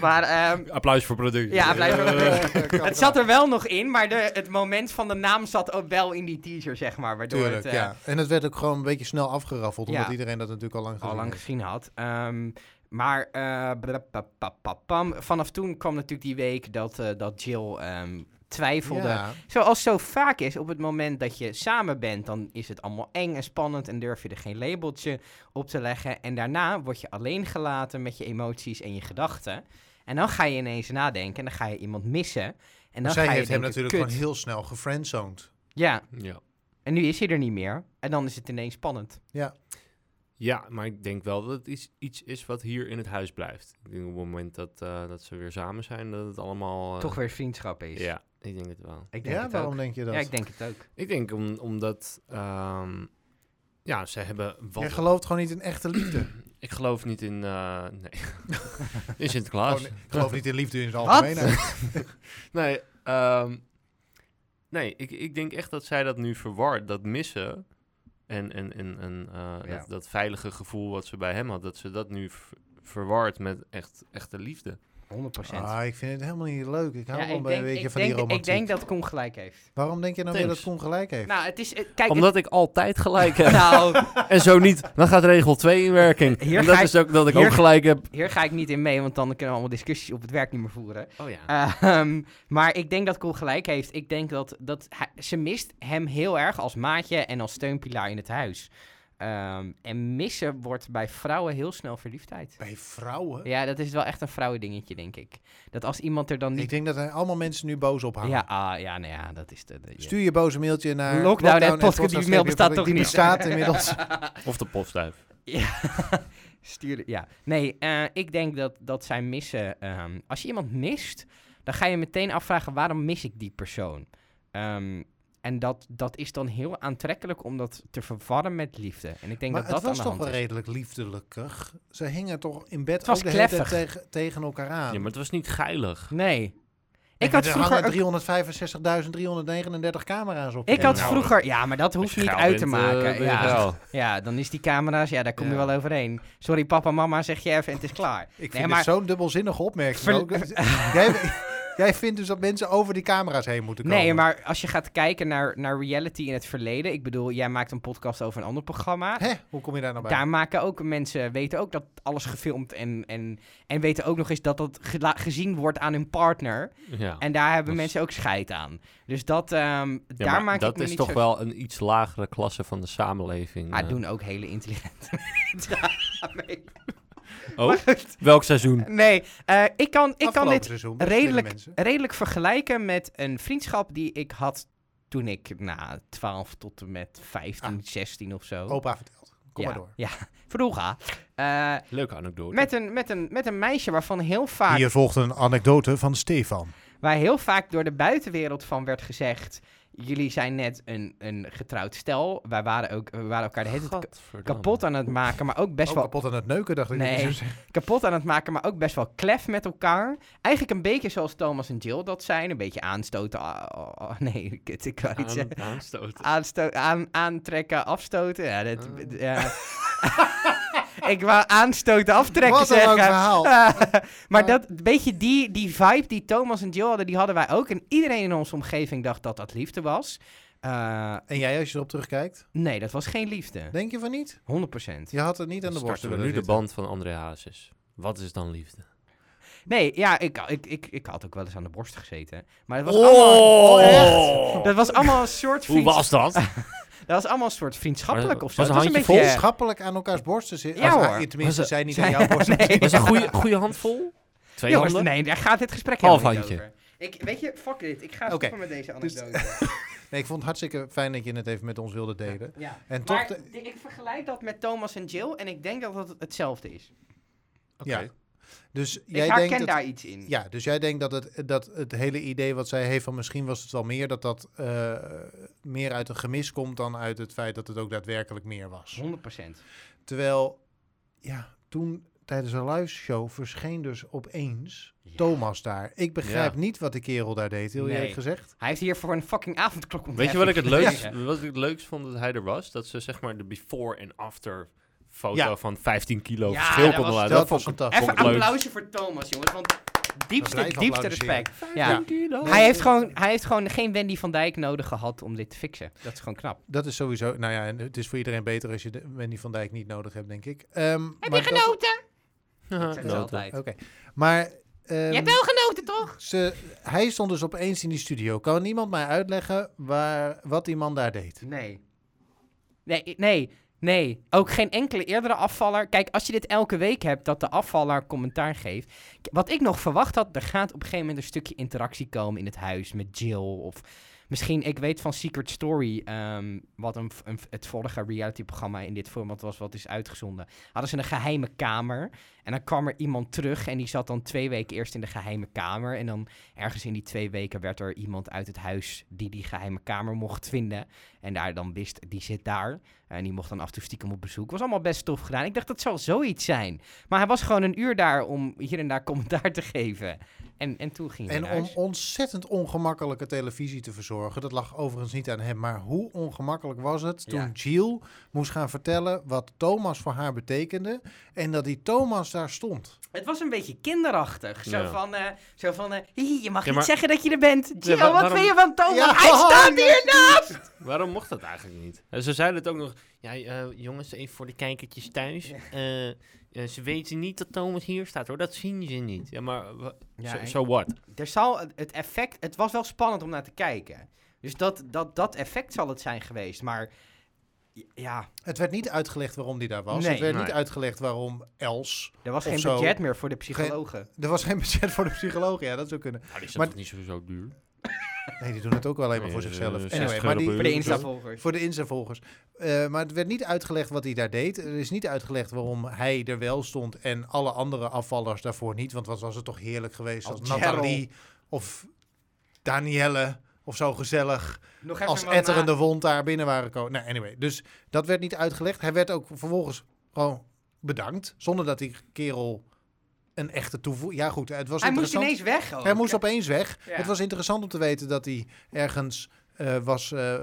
A: maar ehm,
B: Applaus voor productie.
A: ja, blijf maar-
B: Eh,
A: het zat er wel nog in, maar de, het moment van de naam zat ook wel in die teaser, zeg maar. Waardoor
C: Tuurlijk,
A: het, eh,
C: ja. En het werd ook gewoon een beetje snel afgeraffeld, omdat
A: Ja.
C: iedereen dat natuurlijk al lang gezien
A: al lang
C: heeft.
A: gezien had. Ehm, maar eh, brapapapapam. vanaf toen kwam natuurlijk die week dat, eh, dat Jill ehm, twijfelde.
C: Ja.
A: Zoals zo vaak is, op het moment dat je samen bent, dan is het allemaal eng en spannend en durf je er geen labeltje op te leggen. En daarna word je alleen gelaten met je emoties en je gedachten. En dan ga je ineens nadenken en dan ga je iemand missen. En dan
C: Zij
A: ga je
C: heeft
A: denken,
C: hem natuurlijk
A: "Kut."
C: gewoon heel snel gefriendzoned.
A: Ja,
B: [LAUGHS] ja.
A: en nu is hij er niet meer. En dan is het ineens spannend.
B: Ja, maar ik denk wel dat het iets, iets is wat hier in het huis blijft. Ik denk op het moment dat, eh, dat ze weer samen zijn, dat het allemaal... eh,
A: Toch weer vriendschap is.
B: Ja, ik denk het wel.
A: Ik denk
C: Ja,
A: het
C: waarom
A: ook.
C: denk je dat?
A: Ja, ik denk het ook.
B: Ik denk om, omdat... ehm, ja, ze hebben... Wat,
C: Jij gelooft gewoon niet in echte
A: [CLEARS THROAT]
C: liefde.
B: ik geloof niet in... eh, nee. in Sinterklaas.
C: Gewoon- ik geloof niet in liefde in het
A: Wat?
C: algemeen.
B: Nee, ehm, nee ik, ik denk echt dat zij dat nu verward, dat missen. En, en, en, en eh,
A: Ja.
B: dat, dat veilige gevoel wat ze bij hem had, dat ze dat nu ver- verward met echt, echte liefde.
A: 100
C: Ah, ik vind het helemaal niet leuk. Ik hou
A: Ja,
C: wel
A: ik
C: bij
A: denk,
C: een beetje
A: ik,
C: van
A: denk,
C: die
A: ik
C: romantiek.
A: denk dat Koen gelijk heeft.
C: Waarom denk je nou weer
B: Thanks.
C: dat Koen gelijk heeft?
A: Nou, het is... eh, Kijk,
B: Omdat ik altijd
A: [LAUGHS]
B: gelijk heb.
A: het- nou,
B: En zo niet, dan gaat regel 2 in werking.
A: Hier
B: en dat
A: ga ik-
B: is ook dat ik
A: hier-
B: ook gelijk heb.
A: Hier ga ik niet in mee, want dan kunnen we allemaal discussies op het werk niet meer voeren.
B: Oh ja.
A: Ehm, maar ik denk dat Koen gelijk heeft. Ik denk dat, dat hij- ze mist hem heel erg als maatje en als steunpilaar in het huis. Ehm, en missen wordt bij vrouwen heel snel verliefdheid.
C: [LAUGHS] Bij vrouwen?
A: Ja, dat is wel echt een vrouwendingetje, denk ik. Dat als iemand er dan
C: Ik
A: niet...
C: denk dat er allemaal mensen nu boos op hangen.
A: Ja, ah, ja, nou ja, dat is de... de- ja.
C: Stuur je boze mailtje naar...
A: Lockdown, hè, podcast, die mail
C: podcast,
A: bestaat
C: die
A: toch niet?
C: bestaat
A: [LAUGHS]
C: inmiddels.
B: Eh, Of de postduif.
A: Oh. Stuur, ja. Nee, eh, ik denk dat, dat zij missen. ehm, als je iemand mist, dan ga je meteen afvragen waarom mis ik die persoon. Ehm, en dat, dat is dan heel aantrekkelijk om dat te verwarren met liefde. En ik denk
C: maar
A: dat dat
C: het was
A: aan de hand
C: toch wel
A: is.
C: redelijk liefdelijker. Ze hingen toch in bed
A: Het was
C: ook de hele tijd
A: kleffig.
C: tegen, tegen elkaar aan.
B: Ja, maar het was niet geilig.
A: Nee.
C: En
A: Ik had
C: er
A: vroeger... ook-
C: hangen 365.339 camera's op.
A: Ik had
B: Nou,
A: vroeger... Ja, maar dat
B: Als
A: hoeft
B: je
A: niet
B: geil
A: uit te
B: bent, eh,
A: maken.
B: ben je
A: ja. [LAUGHS]
B: geil.
A: ja, dan is die camera's... Ja, daar kom je
C: Ja.
A: wel overheen. Sorry papa, mama, zeg je even en het is klaar.
C: Ik vind
A: Nee,
C: het
A: maar-
C: zo'n dubbelzinnige opmerking.
A: Ver- [LAUGHS]
C: ook. jij, jij vindt dus dat mensen over die camera's heen moeten komen.
A: Nee, maar als je gaat kijken naar, naar reality in het verleden... Ik bedoel, jij maakt een podcast over een ander programma.
C: Hè? Hoe kom je daar nou bij?
A: Daar maken ook mensen, weten ook dat alles gefilmd en, en, en weten ook nog eens dat dat gela- gezien wordt aan hun partner.
B: Ja.
A: En daar hebben
B: dat is-
A: mensen ook scheid aan. Dus dat, ehm,
B: Ja,
A: daar
B: maar
A: maak
B: dat
A: ik me
B: is
A: niet
B: toch
A: zo...
B: wel een iets lagere klasse van de samenleving.
A: Ah,
B: eh.
A: doen ook hele intelligente [LAUGHS] mensen aan mee.
B: Oh, welk seizoen?
A: Nee, eh, ik kan, ik kan
C: Afgelopen
A: dit
C: seizoen,
A: redelijk-
C: slimme mensen.
A: redelijk vergelijken met een vriendschap die ik had toen ik na 12 tot en met 15, 16 of zo.
C: Opa vertelt. Ah. Oh, Kom
A: ja,
C: maar door.
A: Ja, [LAUGHS] vroeger. Eh,
B: Leuke anekdote.
A: met, een, met, een, met een meisje waarvan heel vaak...
C: Hier volgt een anekdote van Stefan.
A: Waar heel vaak door de buitenwereld van werd gezegd... jullie zijn net een, een getrouwd stel. Wij waren, ook, we waren elkaar de hele tijd
B: Gadverdamme.
A: kapot aan het maken, maar ook best
C: Ook
A: wel
C: Oh, kapot aan het neuken, dacht ik. dat je
A: Nee.
C: zou zeggen.
A: kapot aan het maken, maar ook best wel klef met elkaar. Eigenlijk een beetje zoals Thomas en Jill dat zijn. Een beetje aanstoten. ah, ah, ah, nee, [LAUGHS] kut, ik kan niet zeggen.
B: Aan, [LAUGHS] aanstoten.
A: Aansto- aan, aantrekken, afstoten. Ja, dat,
B: Ah.
A: d- ja. [LAUGHS] ik wou aanstoten, aftrekken
C: Wat een
A: zeggen.
C: leuk verhaal.
A: Eh, [LAUGHS] maar
C: Maar-
A: dat, weet je, die, die vibe die Thomas en Jill hadden, die hadden wij ook. En iedereen in onze omgeving dacht dat dat liefde was. Eh,
C: En jij, als je erop terugkijkt,
A: nee, dat was geen liefde.
C: denk je van niet?
A: 100%.
C: Je had het niet aan de borst
B: Starten we
C: willen
B: nu de
C: zitten.
B: band van André Hazes. Wat is dan liefde?
A: Nee, ja, ik, ik, ik, ik had ook wel eens aan de borst gezeten. Maar het was allemaal...
B: Oh,
A: echt. Dat was allemaal een soort
B: Hoe
A: vriend...
B: was [LAUGHS] dat?
A: Dat was allemaal een soort vriendschappelijk
B: Maar
A: of zo.
B: was een
A: Het
B: handje
A: beetje- eh,
C: Schappelijk aan elkaars borsten zitten.
A: Ja,
C: Als- ah,
A: hoor.
C: Tenminste,
B: Was-
C: zij niet aan jouw
A: [LAUGHS]
C: borsten
A: [LAUGHS] Nee.
B: Was een goede, goede handvol? Twee
A: Jongens,
B: handen?
A: nee, daar gaat dit gesprek
B: Half
A: helemaal niet
B: handje.
A: over. Ik, weet je, fuck dit. Ik ga
C: Oké.
A: stoppen met deze anekdote.
C: Nee, ik vond het hartstikke fijn dat je het even met ons wilde delen.
A: ja.
C: En
A: Maar
C: toch de-
A: ik vergelijk dat met Thomas en Jill en ik denk dat dat hetzelfde is.
B: Oké.
C: Ja. Dus
A: Jij
C: jij
A: ik herken
C: denkt dat-
A: daar iets in.
C: ja, dus jij denkt dat het, dat het hele idee wat zij heeft van misschien was het wel meer, dat dat eh, meer uit een gemis komt dan uit het feit dat het ook daadwerkelijk meer was.
A: 100%.
C: Terwijl, ja, toen tijdens een live show verscheen dus opeens
A: Ja.
C: Thomas daar. Ik begrijp
B: Ja.
C: niet wat die kerel daar deed, heel
A: Nee.
C: eerlijk gezegd.
A: Hij heeft hier voor een fucking avondklok ontdekt.
B: Weet je wat ik het leukst,
A: Ja.
B: wat ik het leukst vond dat hij er was? Dat ze zeg maar de before en after foto
C: Ja.
B: van 15 kilo
A: Ja,
B: verschil
A: dat
B: konden
A: was-
B: laten.
C: dat
B: Dat
C: was
B: vond ik
C: fantastisch.
A: Even
B: Vond ik leuk.
A: applausje voor Thomas, jongens. Want diepste,
C: blijven
A: diepste
C: applaudisseren.
A: respect. Ja. Hij heeft, gewoon, hij heeft gewoon geen Wendy van Dijk nodig gehad om dit te fixen. Dat is gewoon knap.
C: Dat is sowieso, nou ja, en het is voor iedereen beter als je de Wendy van Dijk niet nodig hebt, denk ik. Ehm,
A: Heb
C: maar
A: je
C: dat-
A: genoten? Dat
B: Ja,
A: zeggen ze
B: dat-
A: altijd.
C: Oké, maar... ehm,
A: Je hebt wel genoten, toch?
C: Ze, hij stond dus opeens in die studio. Kan niemand mij uitleggen waar, wat die man daar deed?
A: Nee. Nee, nee, nee. Ook geen enkele eerdere afvaller. Kijk, als je dit elke week hebt, dat de afvaller commentaar geeft. K- Wat ik nog verwacht had, er gaat op een gegeven moment een stukje interactie komen in het huis met Jill. Of misschien, ik weet van Secret Story, ehm, wat een, v- een v- het vorige realityprogramma in dit format was, wat is uitgezonden. Hadden ze een geheime kamer. En dan kwam er iemand terug en die zat dan twee weken eerst in de geheime kamer. En dan ergens in die twee weken werd er iemand uit het huis die die geheime kamer mocht vinden. En daar dan wist, die zit daar. En die mocht dan af en toe stiekem op bezoek. Was allemaal best tof gedaan. Ik dacht, dat zou zoiets zijn. Maar hij was gewoon een uur daar om hier en daar commentaar te geven. En, en toen ging hij
C: En
A: naar
C: om
A: huis.
C: ontzettend ongemakkelijke televisie te verzorgen, dat lag overigens niet aan hem, maar hoe ongemakkelijk was het toen
A: Ja.
C: Jill moest gaan vertellen wat Thomas voor haar betekende en dat die Thomas daar stond.
A: Het was een beetje kinderachtig. Zo
B: Ja.
A: van, eh, zo van eh, "Hi, je mag
B: Ja,
A: niet
B: maar-
A: zeggen dat je er bent. Gio,
B: wa-
A: wat
B: waarom-
A: vind je van Thomas?
C: Ja, Oh,
A: Hij staat
C: nee.
A: hiernaast!
B: Waarom mocht dat eigenlijk niet? En ze zeiden het ook nog. Ja, eh, jongens, even voor de kijkertjes thuis. Eh, eh, ze weten niet dat Thomas hier staat hoor. Dat zien ze niet. Ja, maar wa-
A: Ja,
B: so,
A: ik-
B: so what? Nou,
A: Er zal het- het effect... Het was wel spannend om naar te kijken. Dus dat, dat, dat effect zal het zijn geweest. Maar ja,
C: Het werd niet uitgelegd waarom die daar was.
A: Nee.
C: het werd
B: Nee.
C: niet uitgelegd waarom Els.
A: er was
C: Of
A: geen
C: zo. Eh,
A: budget meer voor de psychologen.
C: Er was geen budget voor de psycholoog. Ja, dat zou kunnen.
B: Nou, die is
C: Maar-
B: toch niet sowieso duur?
C: Nee, die doen het ook wel alleen maar voor
B: Eh,
C: zichzelf.
B: 60
C: Anyway, maar
B: euro
C: die,
B: per
A: Voor de
B: Tuurlijk wel.
A: Insta-volgers.
C: Voor de Insta-volgers. Eh, maar het werd niet uitgelegd wat hij daar deed. Er is niet uitgelegd waarom hij er wel stond en alle andere afvallers daarvoor niet. Want wat was het toch heerlijk geweest als,
A: Als
C: Nathalie of Danielle of zo gezellig
A: Nog even
C: als
A: wat na-
C: etterende wond daar binnen waren gekomen. Nou, anyway, dus dat werd niet uitgelegd. Hij werd ook vervolgens gewoon bedankt, zonder dat die kerel een echte toevoeging... Ja goed, het was
A: Hij moest
C: interessant.
A: ineens weg. ook.
C: Hij moest opeens weg.
A: Oh, Ja.
C: Het was interessant om te weten dat hij ergens eh, was, eh,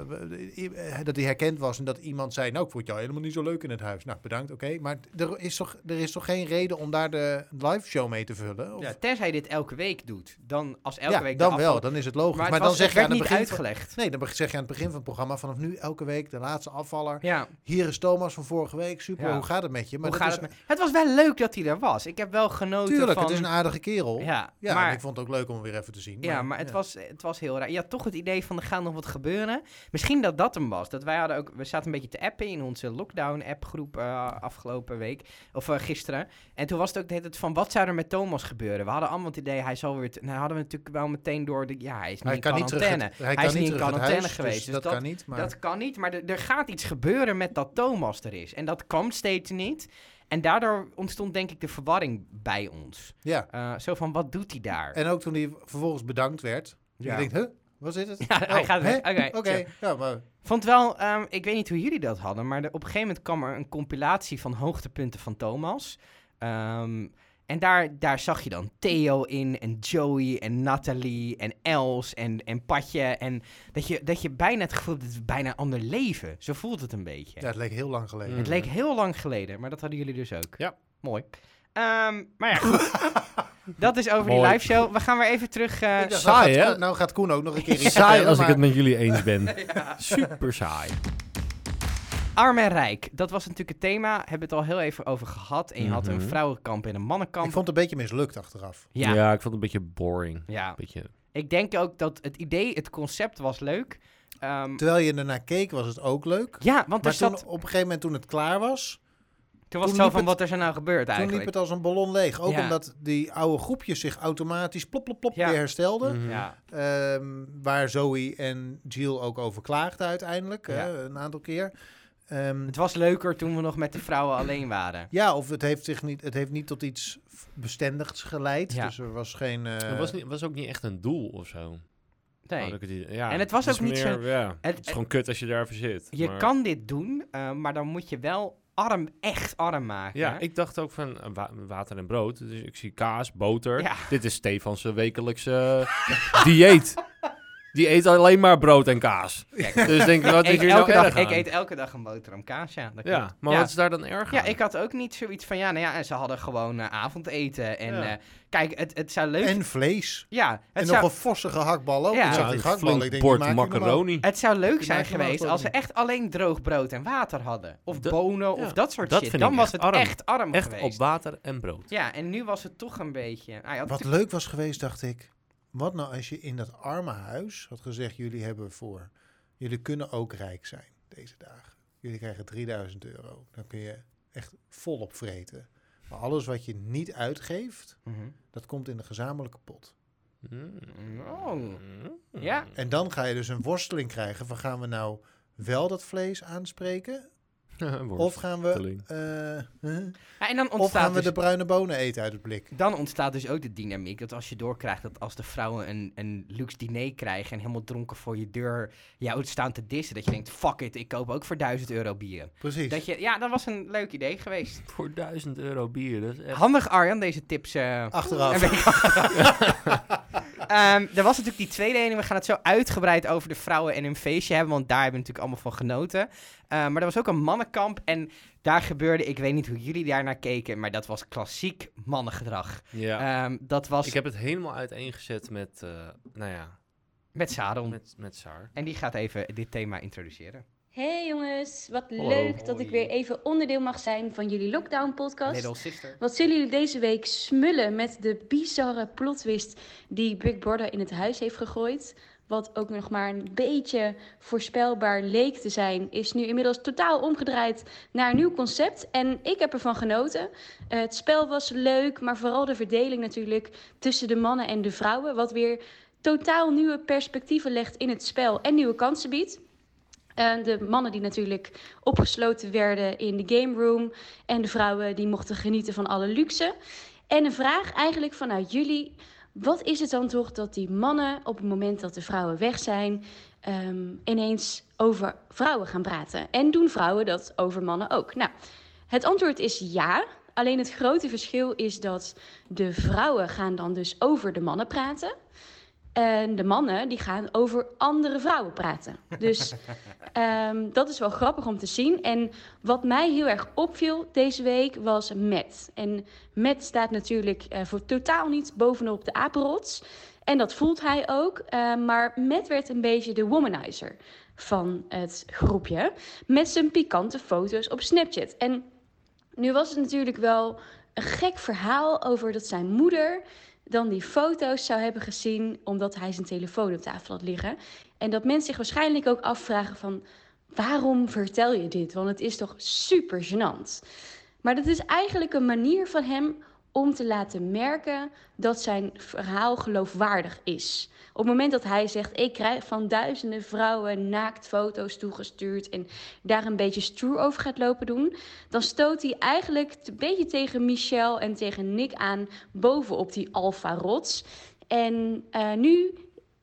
C: i- eh, dat hij herkend was en dat iemand zei, nou ik vond jou helemaal niet zo leuk in het huis. Nou bedankt, oké. Maar er is, toch, er is toch geen reden om daar de live show mee te vullen? Of-
A: Ja, tenzij je dit elke week doet. Dan als elke
C: Ja,
A: week de
C: dan wel,
A: afval-
C: dan is het logisch.
A: Maar,
C: Maar,
A: het
C: dan
A: was,
C: zeg
A: het
C: je
A: werd
C: aan het
A: niet
C: begin... van-
A: uitgelegd.
C: Nee, dan zeg je aan het begin van het programma vanaf nu elke week de laatste afvaller.
A: Ja.
C: Hier is Thomas van vorige week. Super,
A: Ja.
C: hoe gaat het met je? Maar
A: Hoe
C: dat
A: gaat
C: is,
A: het, met- het was wel leuk dat hij er was. Ik heb wel genoten
C: Tuurlijk,
A: van...
C: het is een aardige kerel. Ja,
A: ja,
C: en
A: maar,
C: ik vond het ook leuk om hem weer even te zien.
A: ja, maar het, Was, het was heel raar. Je had toch het idee van, er gaat nog wat gebeuren. Misschien dat dat hem was. Dat wij hadden ook... We zaten een beetje te appen in onze lockdown-appgroep eh afgelopen week. Of eh, gisteren. En toen was het ook de hele tijd van, wat zou er met Thomas gebeuren? We hadden allemaal het idee, hij zal weer... te- Nou, hadden we natuurlijk wel meteen door... De, ja, hij is niet
C: Hij
A: in
C: kan niet terug.
A: quarantaine.
C: het- Hij
A: Hij
C: kan
A: is
C: niet
A: niet in
C: terug het
A: quarantaine
C: huis,
A: geweest,
C: dus
A: dus
C: dat
A: dat-
C: kan niet. Maar
A: Dat kan niet, maar er, er gaat iets gebeuren met dat Thomas er is. En dat kwam steeds niet. En daardoor ontstond denk ik de verwarring bij ons.
C: ja.
A: Eh, zo van, wat doet hij daar?
C: En ook toen hij vervolgens bedankt werd.
A: Ja.
C: Je denkt, huh? Wat is
A: [LAUGHS]
C: het? Oh,
A: Ja, hij gaat
C: hè?
A: weg. Oké,
C: Oké, ja, maar
A: Vond wel, ehm, ik weet niet hoe jullie dat hadden, maar er- op een gegeven moment kwam er een compilatie van hoogtepunten van Thomas. Ehm, en daar, daar zag je dan Theo in, en Joey, en Nathalie, en Els, en, en Patje. En dat je, dat je bijna het gevoel hebt, het is bijna een ander leven. Zo voelt het een beetje.
C: ja, het leek heel lang geleden.
B: Mm.
A: Het leek heel lang geleden, maar dat hadden jullie dus ook.
B: Ja.
A: Mooi. Ehm,
B: [LAUGHS]
A: maar ja, goed. dat is over die
B: Mooi.
A: live show. We gaan weer even terug. eh,
C: Ik dacht,
B: saai,
C: nou gaat
B: hè?
C: Koen- Nou gaat Koen ook nog
A: [LAUGHS]
C: een keer iets
B: Saai
C: vertellen,
B: als ik
C: maar-
B: het met jullie eens [LAUGHS] ben. Super saai.
A: arm en rijk. Dat was natuurlijk het thema. Hebben we het al heel even over gehad. En je had een
B: Mhm.
A: vrouwenkamp en een mannenkamp.
C: Ik vond het een beetje mislukt achteraf.
A: Ja.
B: Ja.
A: ja.
B: ik vond het een beetje boring. Beetje...
A: Ik denk ook dat het idee, het concept was leuk. Ehm,
C: Terwijl je ernaar keek was het ook leuk.
A: ja, want er
C: Maar
A: zat,
C: toen,
A: toen,
C: op een gegeven moment toen het klaar was,
A: was
C: toen
A: het zo
C: liep
A: van
C: het-
A: wat is er nou gebeurd
C: toen liep
A: eigenlijk.
C: het als een ballon leeg. Ook
A: Ja.
C: omdat die oude groepjes zich automatisch plop, plop, plop
A: Ja.
C: weer herstelden.
B: Mhm.
A: Ja.
C: Ehm, waar Zoe en Jill ook over klaagden uiteindelijk,
A: Ja.
C: hè, een aantal keer. Ehm,
A: Het was leuker toen we nog met de vrouwen alleen waren.
C: ja, of het heeft, zich niet, het heeft niet tot iets f- bestendigs geleid.
A: Ja.
C: Dus er was geen... eh,
B: Het was, niet, was ook niet echt een doel of zo.
A: Nee.
B: Had ik het idee. ja,
A: En het was
B: is
A: ook niet zo-
B: meer, Ja, het,
A: het-
B: Oh, is gewoon kut als je daarvoor zit.
A: Je
B: maar-
A: kan dit doen, eh, maar dan moet je wel arm, echt arm maken.
B: Ja, ik dacht ook van eh, wa- water en brood. Dus ik zie kaas, boter.
A: Ja.
B: Dit is Stefans eh, wekelijkse eh, [LAUGHS] dieet. Die eet alleen maar brood en kaas.
A: Kijk,
B: Dus denk ik, wat is
A: ik,
B: hier nou
A: elke dag,
B: erg
A: ik
B: aan?
A: eet elke dag een boterham kaas, ja. dat klopt.
B: Ja, maar
A: ja.
B: wat is daar dan erg
A: Ja,
B: aan?
A: ik had ook niet zoiets van, ja, nou ja, en ze hadden gewoon eh, avondeten. En
B: Ja.
A: eh, kijk, het, het zou leuk
C: En vlees.
A: Ja, het
C: En
A: zou...
C: nog een forse gehaktbal ook.
A: Ja.
C: Ik zag die
B: een
C: gehaktbal.
B: flink
C: Ik denk, die
B: bord
C: maak je normaal.
B: macaroni.
A: Het zou leuk
C: Die
A: zijn
C: maken we
A: geweest
C: wel
A: als ze
C: gewoon.
A: echt alleen droog brood en water hadden. Of
B: Dat-
A: bonen
B: ja,
A: of dat soort
B: dat
A: shit.
B: vind
A: Dan
B: ik
A: was het
B: echt arm.
A: echt arm
B: Echt op
A: geweest.
B: water en brood.
A: ja, en nu was het toch een beetje... Ah, ja,
C: Wat
A: natuurlijk-
C: leuk was geweest, dacht ik. Wat nou als je in dat arme huis had gezegd: jullie hebben voor. Jullie kunnen ook rijk zijn deze dagen. Jullie krijgen 3000 euro. Dan kun je echt volop vreten. Maar alles wat je niet uitgeeft,
A: Mhm.
C: dat komt in de gezamenlijke pot.
B: Mm.
A: Oh.
B: Hmm.
A: Ja.
C: En [LAUGHS] dan ga je dus een worsteling krijgen van gaan we nou wel dat vlees aanspreken? Of gaan we,
B: Worsteling.
C: eh, huh?
A: Ja, en dan
C: of
A: ontstaat
C: gaan we
A: dus
C: de bruine bonen eten uit het blik?
A: Dan ontstaat dus ook de dynamiek dat als je doorkrijgt dat als de vrouwen een, een luxe diner krijgen en helemaal dronken voor je deur jou staan te dissen, dat je denkt, fuck it, ik koop ook voor 1000 euro bier.
C: Precies.
A: Dat je, ja, dat was een leuk idee geweest.
B: Voor 1000 euro bier. Dat is echt...
A: Handig Arjan, deze tips. eh, een [LAUGHS]
C: Achteraf.
A: beetje [LAUGHS] Ehm, er was natuurlijk die tweede ene. We gaan het zo uitgebreid over de vrouwen en hun feestje hebben. Want daar hebben we natuurlijk allemaal van genoten. Eh, maar er was ook een mannenkamp. En daar gebeurde, ik weet niet hoe jullie daar naar keken. Maar dat was klassiek mannengedrag.
B: Ja.
A: Ehm, dat was
B: Ik heb het helemaal uiteengezet met, eh, nou ja,
A: met Saron.
B: met, met Saar.
A: En die gaat even dit thema introduceren.
E: Hey jongens, wat
B: Hallo.
E: leuk dat ik
A: Hoi.
E: weer even onderdeel mag zijn van jullie lockdown podcast.
A: Little Sister.
E: Wat zullen jullie deze week smullen met de bizarre plotwist die Big Brother in het huis heeft gegooid? Wat ook nog maar een beetje voorspelbaar leek te zijn, is nu inmiddels totaal omgedraaid naar een nieuw concept. En ik heb ervan genoten. Eh, het spel was leuk, maar vooral de verdeling natuurlijk tussen de mannen en de vrouwen. Wat weer totaal nieuwe perspectieven legt in het spel en nieuwe kansen biedt. Eh, de mannen die natuurlijk opgesloten werden in de game room. En de vrouwen die mochten genieten van alle luxe. En een vraag eigenlijk vanuit jullie. Wat is het dan toch dat die mannen op het moment dat de vrouwen weg zijn... ehm, ineens over vrouwen gaan praten? En doen vrouwen dat over mannen ook? Nou, het antwoord is ja. Alleen het grote verschil is dat de vrouwen gaan dan dus over de mannen praten... En de mannen die gaan over andere vrouwen praten. Dus Ehm, dat is wel grappig om te zien. En wat mij heel erg opviel deze week was Matt. En Matt staat natuurlijk eh, voor totaal niet bovenop de apenrots. En dat voelt hij ook. eh, maar Matt werd een beetje de womanizer van het groepje. Met zijn pikante foto's op Snapchat. En nu was het natuurlijk wel een gek verhaal over dat zijn moeder dan die foto's zou hebben gezien omdat hij zijn telefoon op tafel had liggen. En dat mensen zich waarschijnlijk ook afvragen van waarom vertel je dit? Want het is toch super gênant. Maar dat is eigenlijk een manier van hem om te laten merken dat zijn verhaal geloofwaardig is. Op het moment dat hij zegt, ik krijg van duizenden vrouwen naaktfoto's toegestuurd en daar een beetje stoer over gaat lopen doen, dan stoot hij eigenlijk een beetje tegen Michelle en tegen Nick aan bovenop die alfa-rots. En eh, nu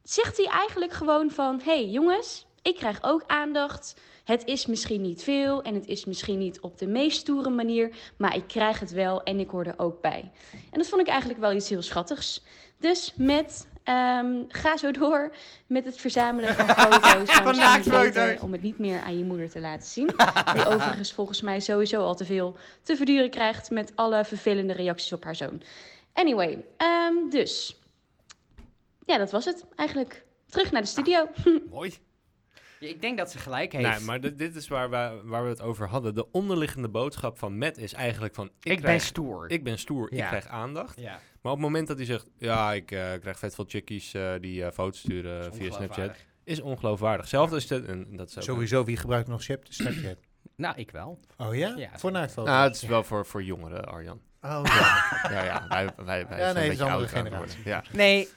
E: zegt hij eigenlijk gewoon van, hey jongens, ik krijg ook aandacht. Het is misschien niet veel en het is misschien niet op de meest stoere manier, maar ik krijg het wel en ik hoor er ook bij. En dat vond ik eigenlijk wel iets heel schattigs. Dus met, ehm, ga zo door met het verzamelen van foto's.
A: Van
E: van
A: naaktfoto's.
E: Om het niet meer aan je moeder te laten zien. Die overigens volgens mij sowieso al te veel te verduren krijgt met alle vervelende reacties op haar zoon. Anyway, ehm, dus. Ja, dat was het eigenlijk. Terug naar de studio.
B: Mooi.
A: Ja, ik denk dat ze gelijk heeft.
B: Nee, maar dit, dit is waar, we- waar we het over hadden. De onderliggende boodschap van Matt is eigenlijk van... Ik,
A: ik ben
B: krijg-
A: stoer.
B: Ik ben stoer,
A: Ja.
B: ik krijg aandacht.
A: ja.
B: Maar op het moment dat hij zegt... Ja, ik eh, krijg vet veel chickies eh, die eh, foto's sturen via Snapchat.
A: Ongeloofwaardig.
B: Is ongeloofwaardig. Zelfs als het... En dat is ook-
C: Sowieso, wie gebruikt nog Snapchat?
A: Nou, ik wel.
C: Oh ja?
A: Ja,
C: Voor naaktfoto's?
B: Nou, het is wel voor, voor jongeren, Arjan.
C: Oh, ja. [LAUGHS]
B: Ja, ja, wij, wij, wij
C: Ja,
B: zijn
C: nee,
B: een
C: het is
B: beetje
C: een andere
B: ouder aan het worden. Ja.
C: generatie.
A: Nee,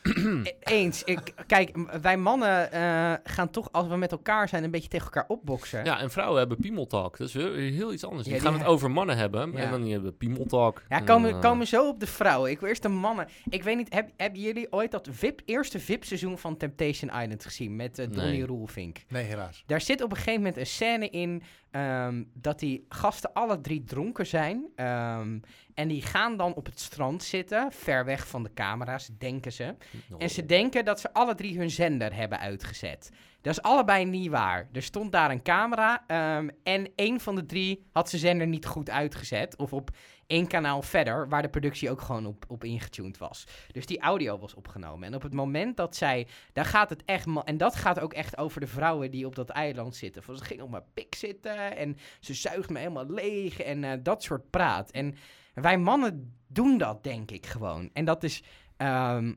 A: [CLEARS THROAT] e- eens. Ik, kijk, m- wij mannen eh, gaan toch, als we met elkaar zijn, een beetje tegen elkaar opboksen.
B: Ja, en vrouwen hebben piemeltalk. Dat is heel, heel iets anders.
A: Ja,
B: die
A: die
B: gaan het
A: he-
B: over mannen hebben
A: Ja.
B: en dan die hebben piemeltalk.
A: Ja,
B: En,
A: komen,
B: eh,
A: komen zo op de vrouwen. Ik wil eerst de mannen. Ik weet niet, heb, hebben jullie ooit dat VIP, eerste VIP-seizoen van Temptation Island gezien met eh, Donnie
B: Nee.
A: Roelvink?
C: Nee, helaas.
A: Daar zit op een gegeven moment een scène in ehm, dat die gasten alle drie dronken zijn. ehm, en die gaan dan op het strand zitten, ver weg van de camera's, denken ze.
B: nou,
A: En ze denken dat ze alle drie hun zender hebben uitgezet. Dat is allebei niet waar. Er stond daar een camera ehm, en één van de drie had zijn zender niet goed uitgezet. Of op één kanaal verder, waar de productie ook gewoon op, op ingetuned was. Dus die audio was opgenomen. En op het moment dat zij, daar gaat het echt, ma- en dat gaat ook echt over de vrouwen die op dat eiland zitten. Van, ze ging op mijn pik zitten en ze zuigt me helemaal leeg en eh, dat soort praat. En wij mannen doen dat, denk ik gewoon. En dat is... ehm,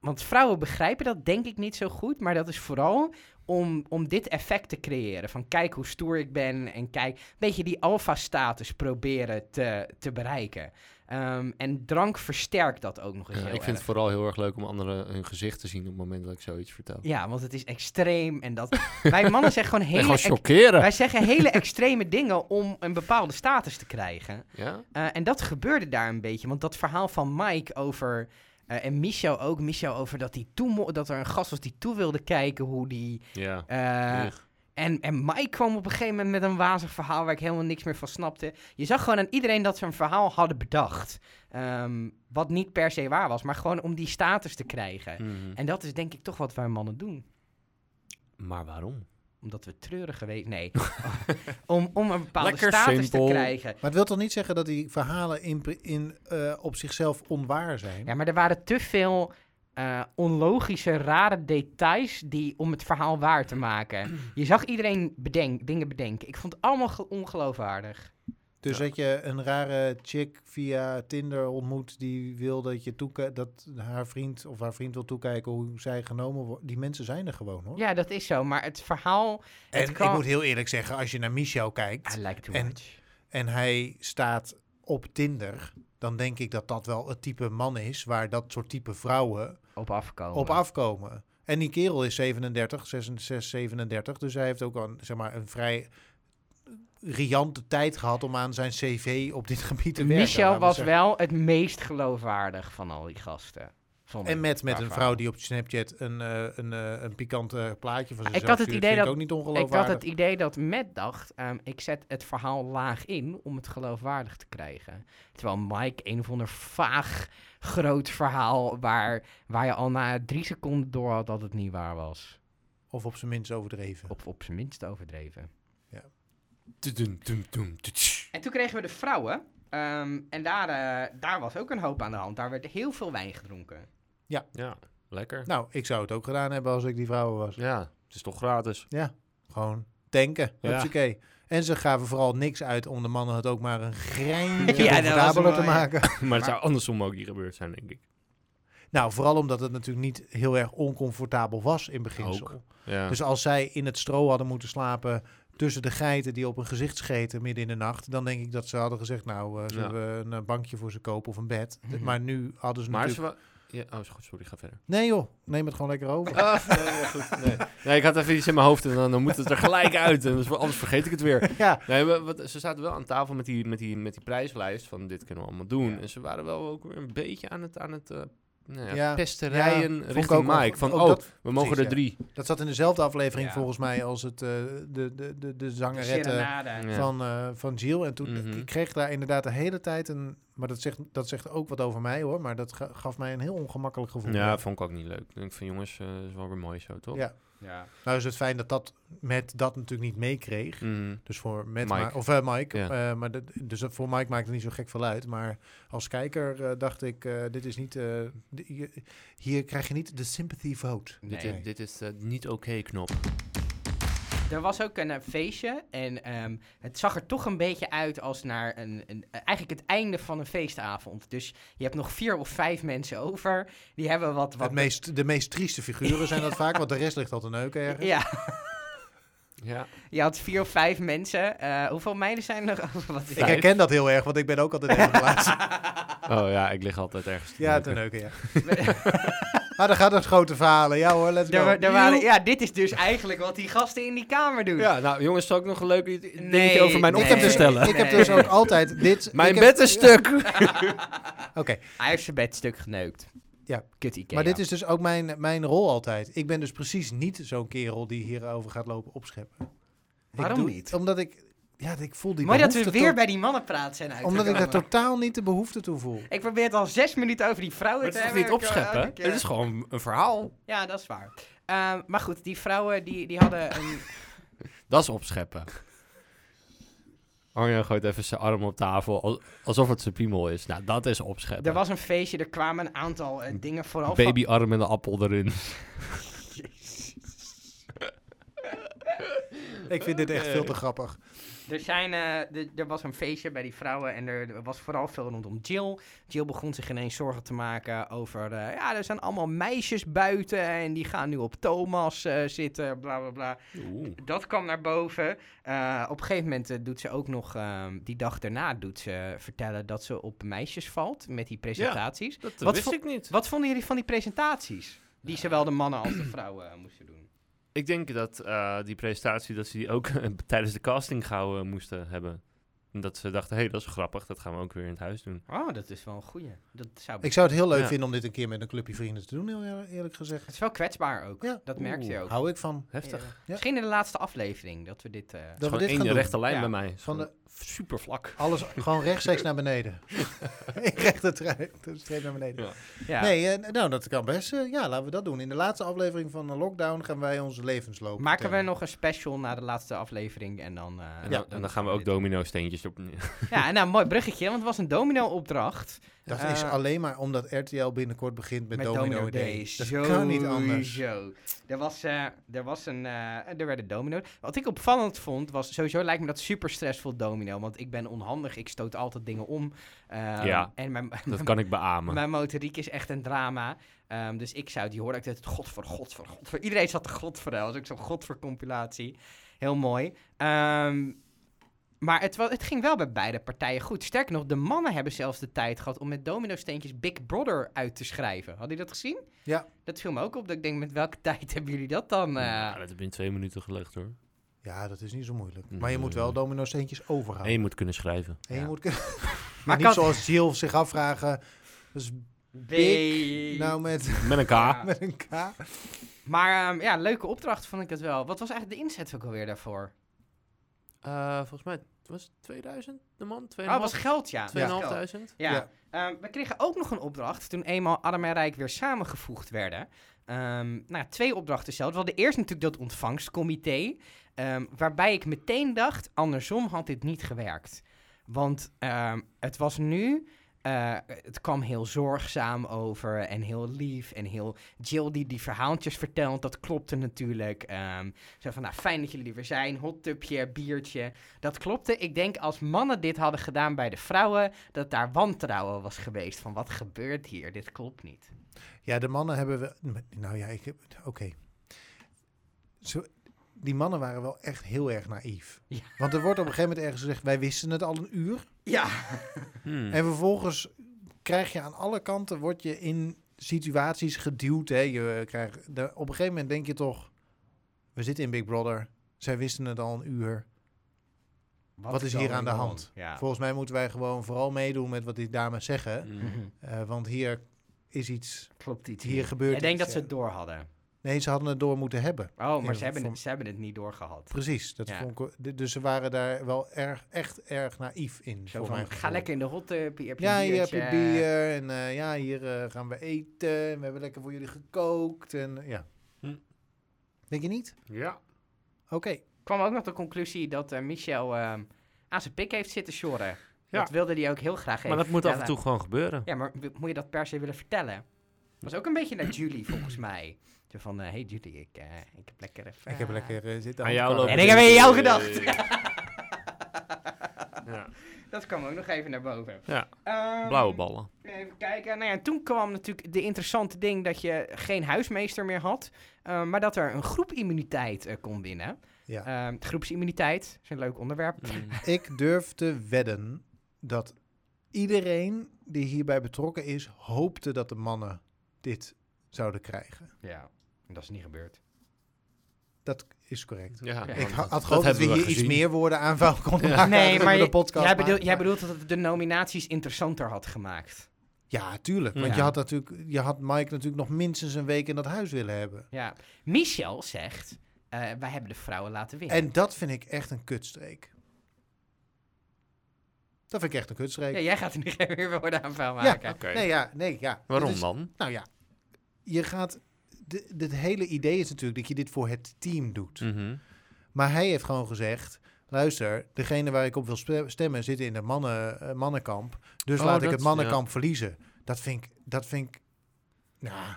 A: want vrouwen begrijpen dat denk ik niet zo goed, maar dat is vooral om, om dit effect te creëren. Van kijk hoe stoer ik ben en kijk, een beetje die alfa-status proberen te, te bereiken. Ehm, en drank versterkt dat ook nog eens
B: ja,
A: heel
B: ik vind het
A: erg.
B: vooral heel erg leuk om anderen hun gezicht te zien op het moment dat ik zoiets vertel.
A: Ja, want het is extreem en
B: [LAUGHS]
A: dat... wij mannen zeggen gewoon
B: En
A: hele...
B: gewoon
A: ex-
B: chockeren.
A: wij zeggen hele extreme dingen om een bepaalde status te krijgen.
B: Ja?
A: Eh, en dat gebeurde daar een beetje. Want dat verhaal van Mike over. eh, en Michel ook. Michel over dat, hij toe mo- dat er een gast was die toe wilde kijken hoe die.
B: Ja.
A: eh,
B: Ugh.
A: en, en Mike kwam op een gegeven moment met een wazig verhaal waar ik helemaal niks meer van snapte. Je zag gewoon aan iedereen dat ze een verhaal hadden bedacht. Ehm, wat niet per se waar was, maar gewoon om die status te krijgen.
B: Mhm.
A: En dat is denk ik toch wat wij mannen doen.
B: Maar waarom?
A: Omdat we treurig geweest.
B: [LAUGHS]
A: Nee. om, om een bepaalde
B: Lekker
A: status
B: simpel.
A: te krijgen.
C: Maar het wil toch niet zeggen dat die verhalen in, pri- in, eh, op zichzelf onwaar zijn?
A: Ja, maar er waren te veel eh, onlogische, rare details die, om het verhaal waar te maken. Je zag iedereen bedenk, dingen bedenken. Ik vond het allemaal ge- ongeloofwaardig.
C: Dus dat je een rare chick via Tinder ontmoet die wil dat je toeke- dat haar vriend of haar vriend wil toekijken hoe zij genomen wordt. Die mensen zijn er gewoon hoor.
A: Ja, dat is zo. Maar het verhaal... het
C: en
A: kwam-
C: ik moet heel eerlijk zeggen, als je naar Michel
A: I
C: kijkt
A: like too
C: en-
A: much.
C: en hij staat op Tinder, dan denk ik dat dat wel het type man is waar dat soort type vrouwen
A: Op afkomen.
C: op afkomen. En die kerel is 37, 66, 37. Dus hij heeft ook al, zeg maar, een vrij riante tijd gehad om aan zijn cv op dit gebied te werken.
A: Michel
C: laten we
A: was
C: zeggen.
A: wel het meest geloofwaardig van al die gasten. Vond ik,
C: En met, met
A: qua
C: een
A: verhaal.
C: vrouw die op Snapchat een, eh, een, eh, een pikant eh, plaatje van
A: Ik
C: zichzelf
A: had het
C: stuurt,
A: idee
C: vind
A: dat-
C: ik ook niet
A: Ik had het
C: ongeloofwaardig.
A: idee dat Matt dacht, ehm, ik zet het verhaal laag in om het geloofwaardig te krijgen. Terwijl Mike een of ander vaag groot verhaal waar, waar je al na drie seconden door had dat het niet waar was.
C: Of op zijn minst overdreven.
A: Of op zijn minst overdreven.
B: Tudum, tudum, tudum, tudum.
A: En toen kregen we de vrouwen. ehm, en daar, eh, daar was ook een hoop aan de hand. Daar werd heel veel wijn gedronken.
B: Ja, lekker.
C: Nou, ik zou het ook gedaan hebben als ik die vrouw was.
B: Ja, het is toch gratis.
C: Gewoon tanken.
B: Ja.
C: Hupsakee. En ze gaven vooral niks uit om de mannen het ook maar
A: [LAUGHS]
C: een greintje
A: Ja, dat was
C: comfortabeler
A: een
C: te
A: mooie.
B: [LAUGHS]
C: maken.
B: maar het zou andersom ook niet gebeurd zijn, denk ik.
C: Nou, vooral omdat het natuurlijk niet heel erg oncomfortabel was in beginsel.
B: Ja.
C: Dus als zij in het stro hadden moeten slapen tussen de geiten die op hun gezicht scheten midden in de nacht, dan denk ik dat ze hadden gezegd, nou, eh, zullen
B: Ja.
C: we een eh, bankje voor ze kopen of een bed. De-
A: Mhm.
C: Maar nu hadden ze
B: maar ze
C: natuurlijk...
B: wa- ja, oh, is goed, sorry, ga verder.
C: Nee joh, neem het gewoon lekker over.
B: nee, goed, nee. ik had even iets in mijn hoofd en dan, dan moet het er gelijk uit. En dus, anders vergeet ik het weer.
C: [LAUGHS] Ja,
B: Nee, maar wat, ze zaten wel aan tafel met die, met, die, met die prijslijst van dit kunnen we allemaal doen.
C: Ja.
B: En ze waren wel ook weer een beetje aan het, aan het eh, nou ja,
C: Ja. Ja,
B: pesterijen
C: vond ik
B: richting
C: ook wel-
B: Mike. Van,
C: ook
B: oh,
C: dat-
B: we mogen
C: precies,
B: er drie.
C: dat zat in dezelfde aflevering
B: Ja.
C: volgens mij als het, eh, de, de, de, de zangeretten
A: Serenade.
B: Ja.
C: van, eh van Jill. En toen
B: Mhm.
C: ik kreeg daar inderdaad de hele tijd een... Maar dat zegt, dat zegt ook wat over mij hoor, maar dat ga- gaf mij een heel ongemakkelijk gevoel.
B: Ja, vond ik ook niet leuk. Ik denk van, jongens, eh, is wel weer mooi zo, toch?
C: Ja.
A: Ja.
C: Nou is het fijn dat dat met dat natuurlijk niet meekreeg.
B: Mhm.
C: Dus voor met
B: Mike.
C: Ma- of eh, Mike.
B: Ja.
C: eh, maar dat, dus dat voor Mike maakt het niet zo gek veel uit. Maar als kijker eh, dacht ik, eh, dit is niet. eh, di- hier- hier krijg je niet de sympathy vote.
B: Dit,
A: Nee.
B: is- dit is de niet oké knop.
A: Er was ook een eh, feestje en ehm, het zag er toch een beetje uit als naar een, een, eigenlijk het einde van een feestavond. Dus je hebt nog vier of vijf mensen over. Die hebben wat... wat
C: Het
A: [LAUGHS]
C: meest, de meest trieste figuren zijn dat vaak, want de rest ligt al te neuken ergens.
A: Ja,
B: [LAUGHS] Ja.
A: je had vier of vijf mensen. Eh, hoeveel meiden zijn er? [LAUGHS] over? wat is [LAUGHS]
C: Ik herken dat heel erg, want ik ben ook altijd in een relatie.
B: Oh ja, ik lig altijd ergens. te
C: Ja, ten
B: neuken.
C: neuken, ja.
A: [LAUGHS]
C: ah, daar gaat het grote verhalen. Ja hoor, let's
A: Daar,
C: go.
A: wa- daar waren, ja, dit is dus eigenlijk wat die gasten in die kamer doen.
B: Ja, nou jongens, zal ik nog een leuk i- dingetje
A: Nee,
B: over mijn
A: nee.
B: op te stellen?
C: Ik heb dus
A: Nee.
C: ook altijd dit...
B: Mijn
C: ik heb-
B: bed is stuk!
C: Oké,
A: Hij heeft zijn bedstuk geneukt.
C: Ja.
A: Kut Ikea.
C: maar dit is dus ook mijn, mijn rol altijd. Ik ben dus precies niet zo'n kerel die hierover gaat lopen opscheppen. Ik
A: Waarom
C: doe-
A: niet?
C: Omdat ik... Ja, ik voel die
A: Mooi dat we
C: behoefte
A: weer
C: tot-
A: bij die mannenpraat zijn uitgekomen.
C: Omdat ik daar totaal niet de behoefte toe voel.
A: Ik probeer het al zes minuten over die vrouwen
B: Het
A: te
B: is toch
A: hebben.
B: niet opscheppen?
A: Elke keer.
B: Het is gewoon een verhaal.
A: Ja, dat is waar. Ehm, maar goed, die vrouwen die, die hadden een...
B: Dat is opscheppen. Arjen gooit even zijn arm op tafel, al- alsof het zijn piemel is. Nou, dat is opscheppen.
A: Er was een feestje, er kwamen een aantal eh, dingen vooral van-
B: Babyarm en een appel erin.
C: Ik vind dit echt veel te grappig.
A: Er, zijn, eh, d- er was een feestje bij die vrouwen en er er was vooral veel rondom Jill. Jill begon zich ineens zorgen te maken over... eh, ja, er zijn allemaal meisjes buiten en die gaan nu op Thomas eh, zitten, bla bla bla.
B: Oeh.
A: Dat kwam naar boven. Eh, op een gegeven moment eh, doet ze ook nog... ehm, die dag daarna doet ze vertellen dat ze op meisjes valt met die presentaties.
B: Dat
A: Wat
B: wist
A: voor-
B: ik niet.
A: Wat vonden jullie van die presentaties? Die zowel de mannen als de vrouwen eh, moesten doen.
B: Ik denk dat eh, die presentatie, dat ze die ook [LAUGHS] tijdens de casting gehouden moesten hebben. En dat ze dachten, hé, hey, dat is grappig, dat gaan we ook weer in het huis doen.
A: Oh, dat is wel een goeie. Dat zou...
C: Ik zou het heel leuk
B: Ja.
C: vinden om dit een keer met een clubje vrienden te doen, heel eer- eerlijk gezegd.
A: Het is wel kwetsbaar ook.
C: Ja.
A: Dat merkte je
B: Oeh.
A: ook.
C: Hou ik van.
B: Heftig.
A: Ja. Misschien in de laatste aflevering dat we dit... eh,
C: Dat we
B: gewoon
C: dit gaan
B: één
C: doen.
B: rechte lijn
A: Ja.
B: bij mij.
C: Van de-
B: Super vlak.
C: Alles gewoon rechtstreeks naar beneden. [LAUGHS] ik recht het streep naar beneden.
A: ja.
C: Nee, eh, nou dat kan best. eh, ja, laten we dat doen. In de laatste aflevering van de lockdown gaan wij onze levensloop.
A: Maken we
C: vertellen.
A: nog een special na de laatste aflevering en dan... eh,
B: En, dan, en dan [LAUGHS] gaan we ook
A: dit-
B: domino steentjes op.
A: Ja, nou, mooi bruggetje, want het was een domino-opdracht.
C: Dat
A: Eh,
C: is alleen maar omdat RTL binnenkort begint met,
A: Met
C: Domino,
A: Domino
C: Day.
A: Days.
C: Dat kan niet anders.
A: Sowieso. Er was, eh, er was een, eh, er werden domino. Wat ik opvallend vond was, sowieso lijkt me dat super stressvol domino, want ik ben onhandig, ik stoot altijd dingen om. Ehm,
B: Ja.
A: En mijn,
B: Dat [LAUGHS] kan ik beamen.
A: mijn motoriek is echt een drama. Ehm, dus ik zou, die hoorde ik het godver, godver, godver. Iedereen zat de godver, dat was ook zo'n godver compilatie. Heel mooi. Ehm, maar het, wa- het ging wel bij beide partijen goed. Sterker nog, de mannen hebben zelfs de tijd gehad om met domino-steentjes Big Brother uit te schrijven. Had je dat gezien?
C: Ja.
A: Dat viel me ook op. Dat ik denk, met welke [LAUGHS] tijd hebben jullie dat dan? eh?
B: Ja,
C: Nou,
B: dat heb je in twee minuten gelegd hoor.
C: Ja, dat is niet zo moeilijk. Maar je
B: Nee.
C: moet wel domino steentjes overhouden.
B: En je moet kunnen schrijven.
C: En je
A: Ja.
C: moet kun-
A: Maar
C: maar [LAUGHS] niet
A: kan-
C: zoals Jill zich afvragen. Dus
A: Big-
C: nou met,
B: [LAUGHS] Met een K.
A: Ja.
C: met een K.
A: Maar ehm, ja, leuke opdracht vond ik het wel. Wat was eigenlijk de inzet ook alweer daarvoor?
B: Eh, volgens mij was het 2000 de man? 2.500?
A: Oh, het was geld, ja. Geld.
B: 2500?
A: Ja.
C: Ja.
A: Ehm, we kregen ook nog een opdracht toen eenmaal Adam en Rijk weer samengevoegd werden. Ehm, nou, ja, twee opdrachten zelf. We hadden eerst natuurlijk dat ontvangstcomité, ehm, waarbij ik meteen dacht, andersom had dit niet gewerkt. Want ehm, het was nu, eh, het kwam heel zorgzaam over en heel lief en heel Jill die die verhaaltjes vertelt, dat klopte natuurlijk. Ehm, zo van, nou fijn dat jullie er weer zijn, hot tubje, biertje. Dat klopte. Ik denk als mannen dit hadden gedaan bij de vrouwen, dat daar wantrouwen was geweest van wat gebeurt hier, dit klopt niet.
C: Ja, de mannen hebben we. Nou ja, ik heb. Oké. Zo- Die mannen waren wel echt heel erg naïef.
A: Ja.
C: Want er wordt op een gegeven moment ergens gezegd: wij wisten het al een uur.
A: Ja, Hm.
B: Hmm.
C: En vervolgens krijg je aan alle kanten, word je in situaties geduwd. Hè? Je eh, krijgt, de- op een gegeven moment denk je toch, we zitten in Big Brother. Zij wisten het al een uur. Wat is hier
A: going
C: aan de
A: on?
C: hand? [LAUGHS]
A: Ja. Hm.
C: Volgens mij moeten wij gewoon vooral meedoen met wat die dames zeggen.
A: Mhm.
B: Hmm.
C: Eh, want hier is iets,
A: Klopt iets.
C: hier
A: niet.
C: gebeurt
A: Ik denk dat
C: iets,
A: ze
C: ja.
A: het door hadden.
C: Nee, ze hadden het door moeten hebben.
A: Oh, maar
C: Ja,
A: ze hebben,
C: van-
A: het, ze hebben het niet doorgehad.
C: Precies. Dat
A: Ja.
C: vond ik, d- dus ze waren daar wel erg, echt erg naïef in.
A: Zo
C: voor
A: van,
C: mijn
A: ga
C: gevoel.
A: lekker in de hot tub, hier heb je
C: Ja,
A: een
C: hier heb je
A: biertje.
C: bier en eh, ja, hier eh, gaan we eten. en We hebben lekker voor jullie gekookt en eh, ja.
B: Hm.
C: Denk je niet?
B: Ja.
C: Oké.
A: kwam ook nog de conclusie dat eh, Michel ehm, aan zijn pik heeft zitten sjorren. Dat wilde hij ook heel graag even
B: Maar dat moet af en
A: vertellen.
B: toe gewoon gebeuren.
A: Ja, maar w- moet je dat per se willen vertellen? was ook een beetje naar Julie, volgens mij. Zo van, eh, hey Julie, ik, eh, ik heb lekker even...
C: Ik heb lekker eh, zitten
B: Aan jou
C: handkarren.
B: lopen.
A: En ik heb aan jou
B: Eh, ja.
A: Dat kwam ook nog even naar boven.
B: Ja.
A: Ehm,
B: Blauwe ballen.
A: Even kijken. Nou ja, toen kwam natuurlijk de interessante ding dat je geen huismeester meer had. eh, maar dat er een groepimmuniteit eh, kon winnen.
C: Ja.
B: [LAUGHS]
A: Ehm, groepsimmuniteit is een leuk onderwerp.
B: Hmm.
C: Ik durf te wedden dat Iedereen die hierbij betrokken is, hoopte dat de mannen dit zouden krijgen.
A: Ja, en dat is niet gebeurd.
C: Dat is correct.
B: Ja,
A: Ja.
C: Ik
B: want
C: had, had
B: dat
C: gehoopt dat we
B: hebben
C: hier iets
B: gezien.
C: meer woorden aan vuil konden maken.
A: Nee,
C: dat we
A: maar
C: de podcast
A: jij,
C: maken.
A: bedoelt, jij bedoelt dat het de nominaties interessanter had gemaakt.
C: Ja, tuurlijk. Want
A: Ja.
C: je, had natuurlijk, je had Mike natuurlijk nog minstens een week in dat huis willen hebben.
A: Ja. Michel zegt, eh, wij hebben de vrouwen laten winnen.
C: En dat vind ik echt een kutstreek. Dat vind ik echt een kutstreek.
A: Ja, jij gaat er nu [LAUGHS] geen meer woorden aan vuil
C: Ja,
A: maken.
B: Oké,
C: Nee, ja, nee, ja.
B: waarom
C: Dit is-
B: dan?
C: Nou ja, je gaat... de- de- Het hele idee is natuurlijk dat je dit voor het team doet.
B: Mhm.
C: Maar hij heeft gewoon gezegd... Luister, degene waar ik op wil spe- stemmen zit in het mannen, eh, mannenkamp. Dus
B: Oh,
C: laat ik
B: dat-
C: het mannenkamp verliezen. Dat vind ik... Dat vind ik... Nou,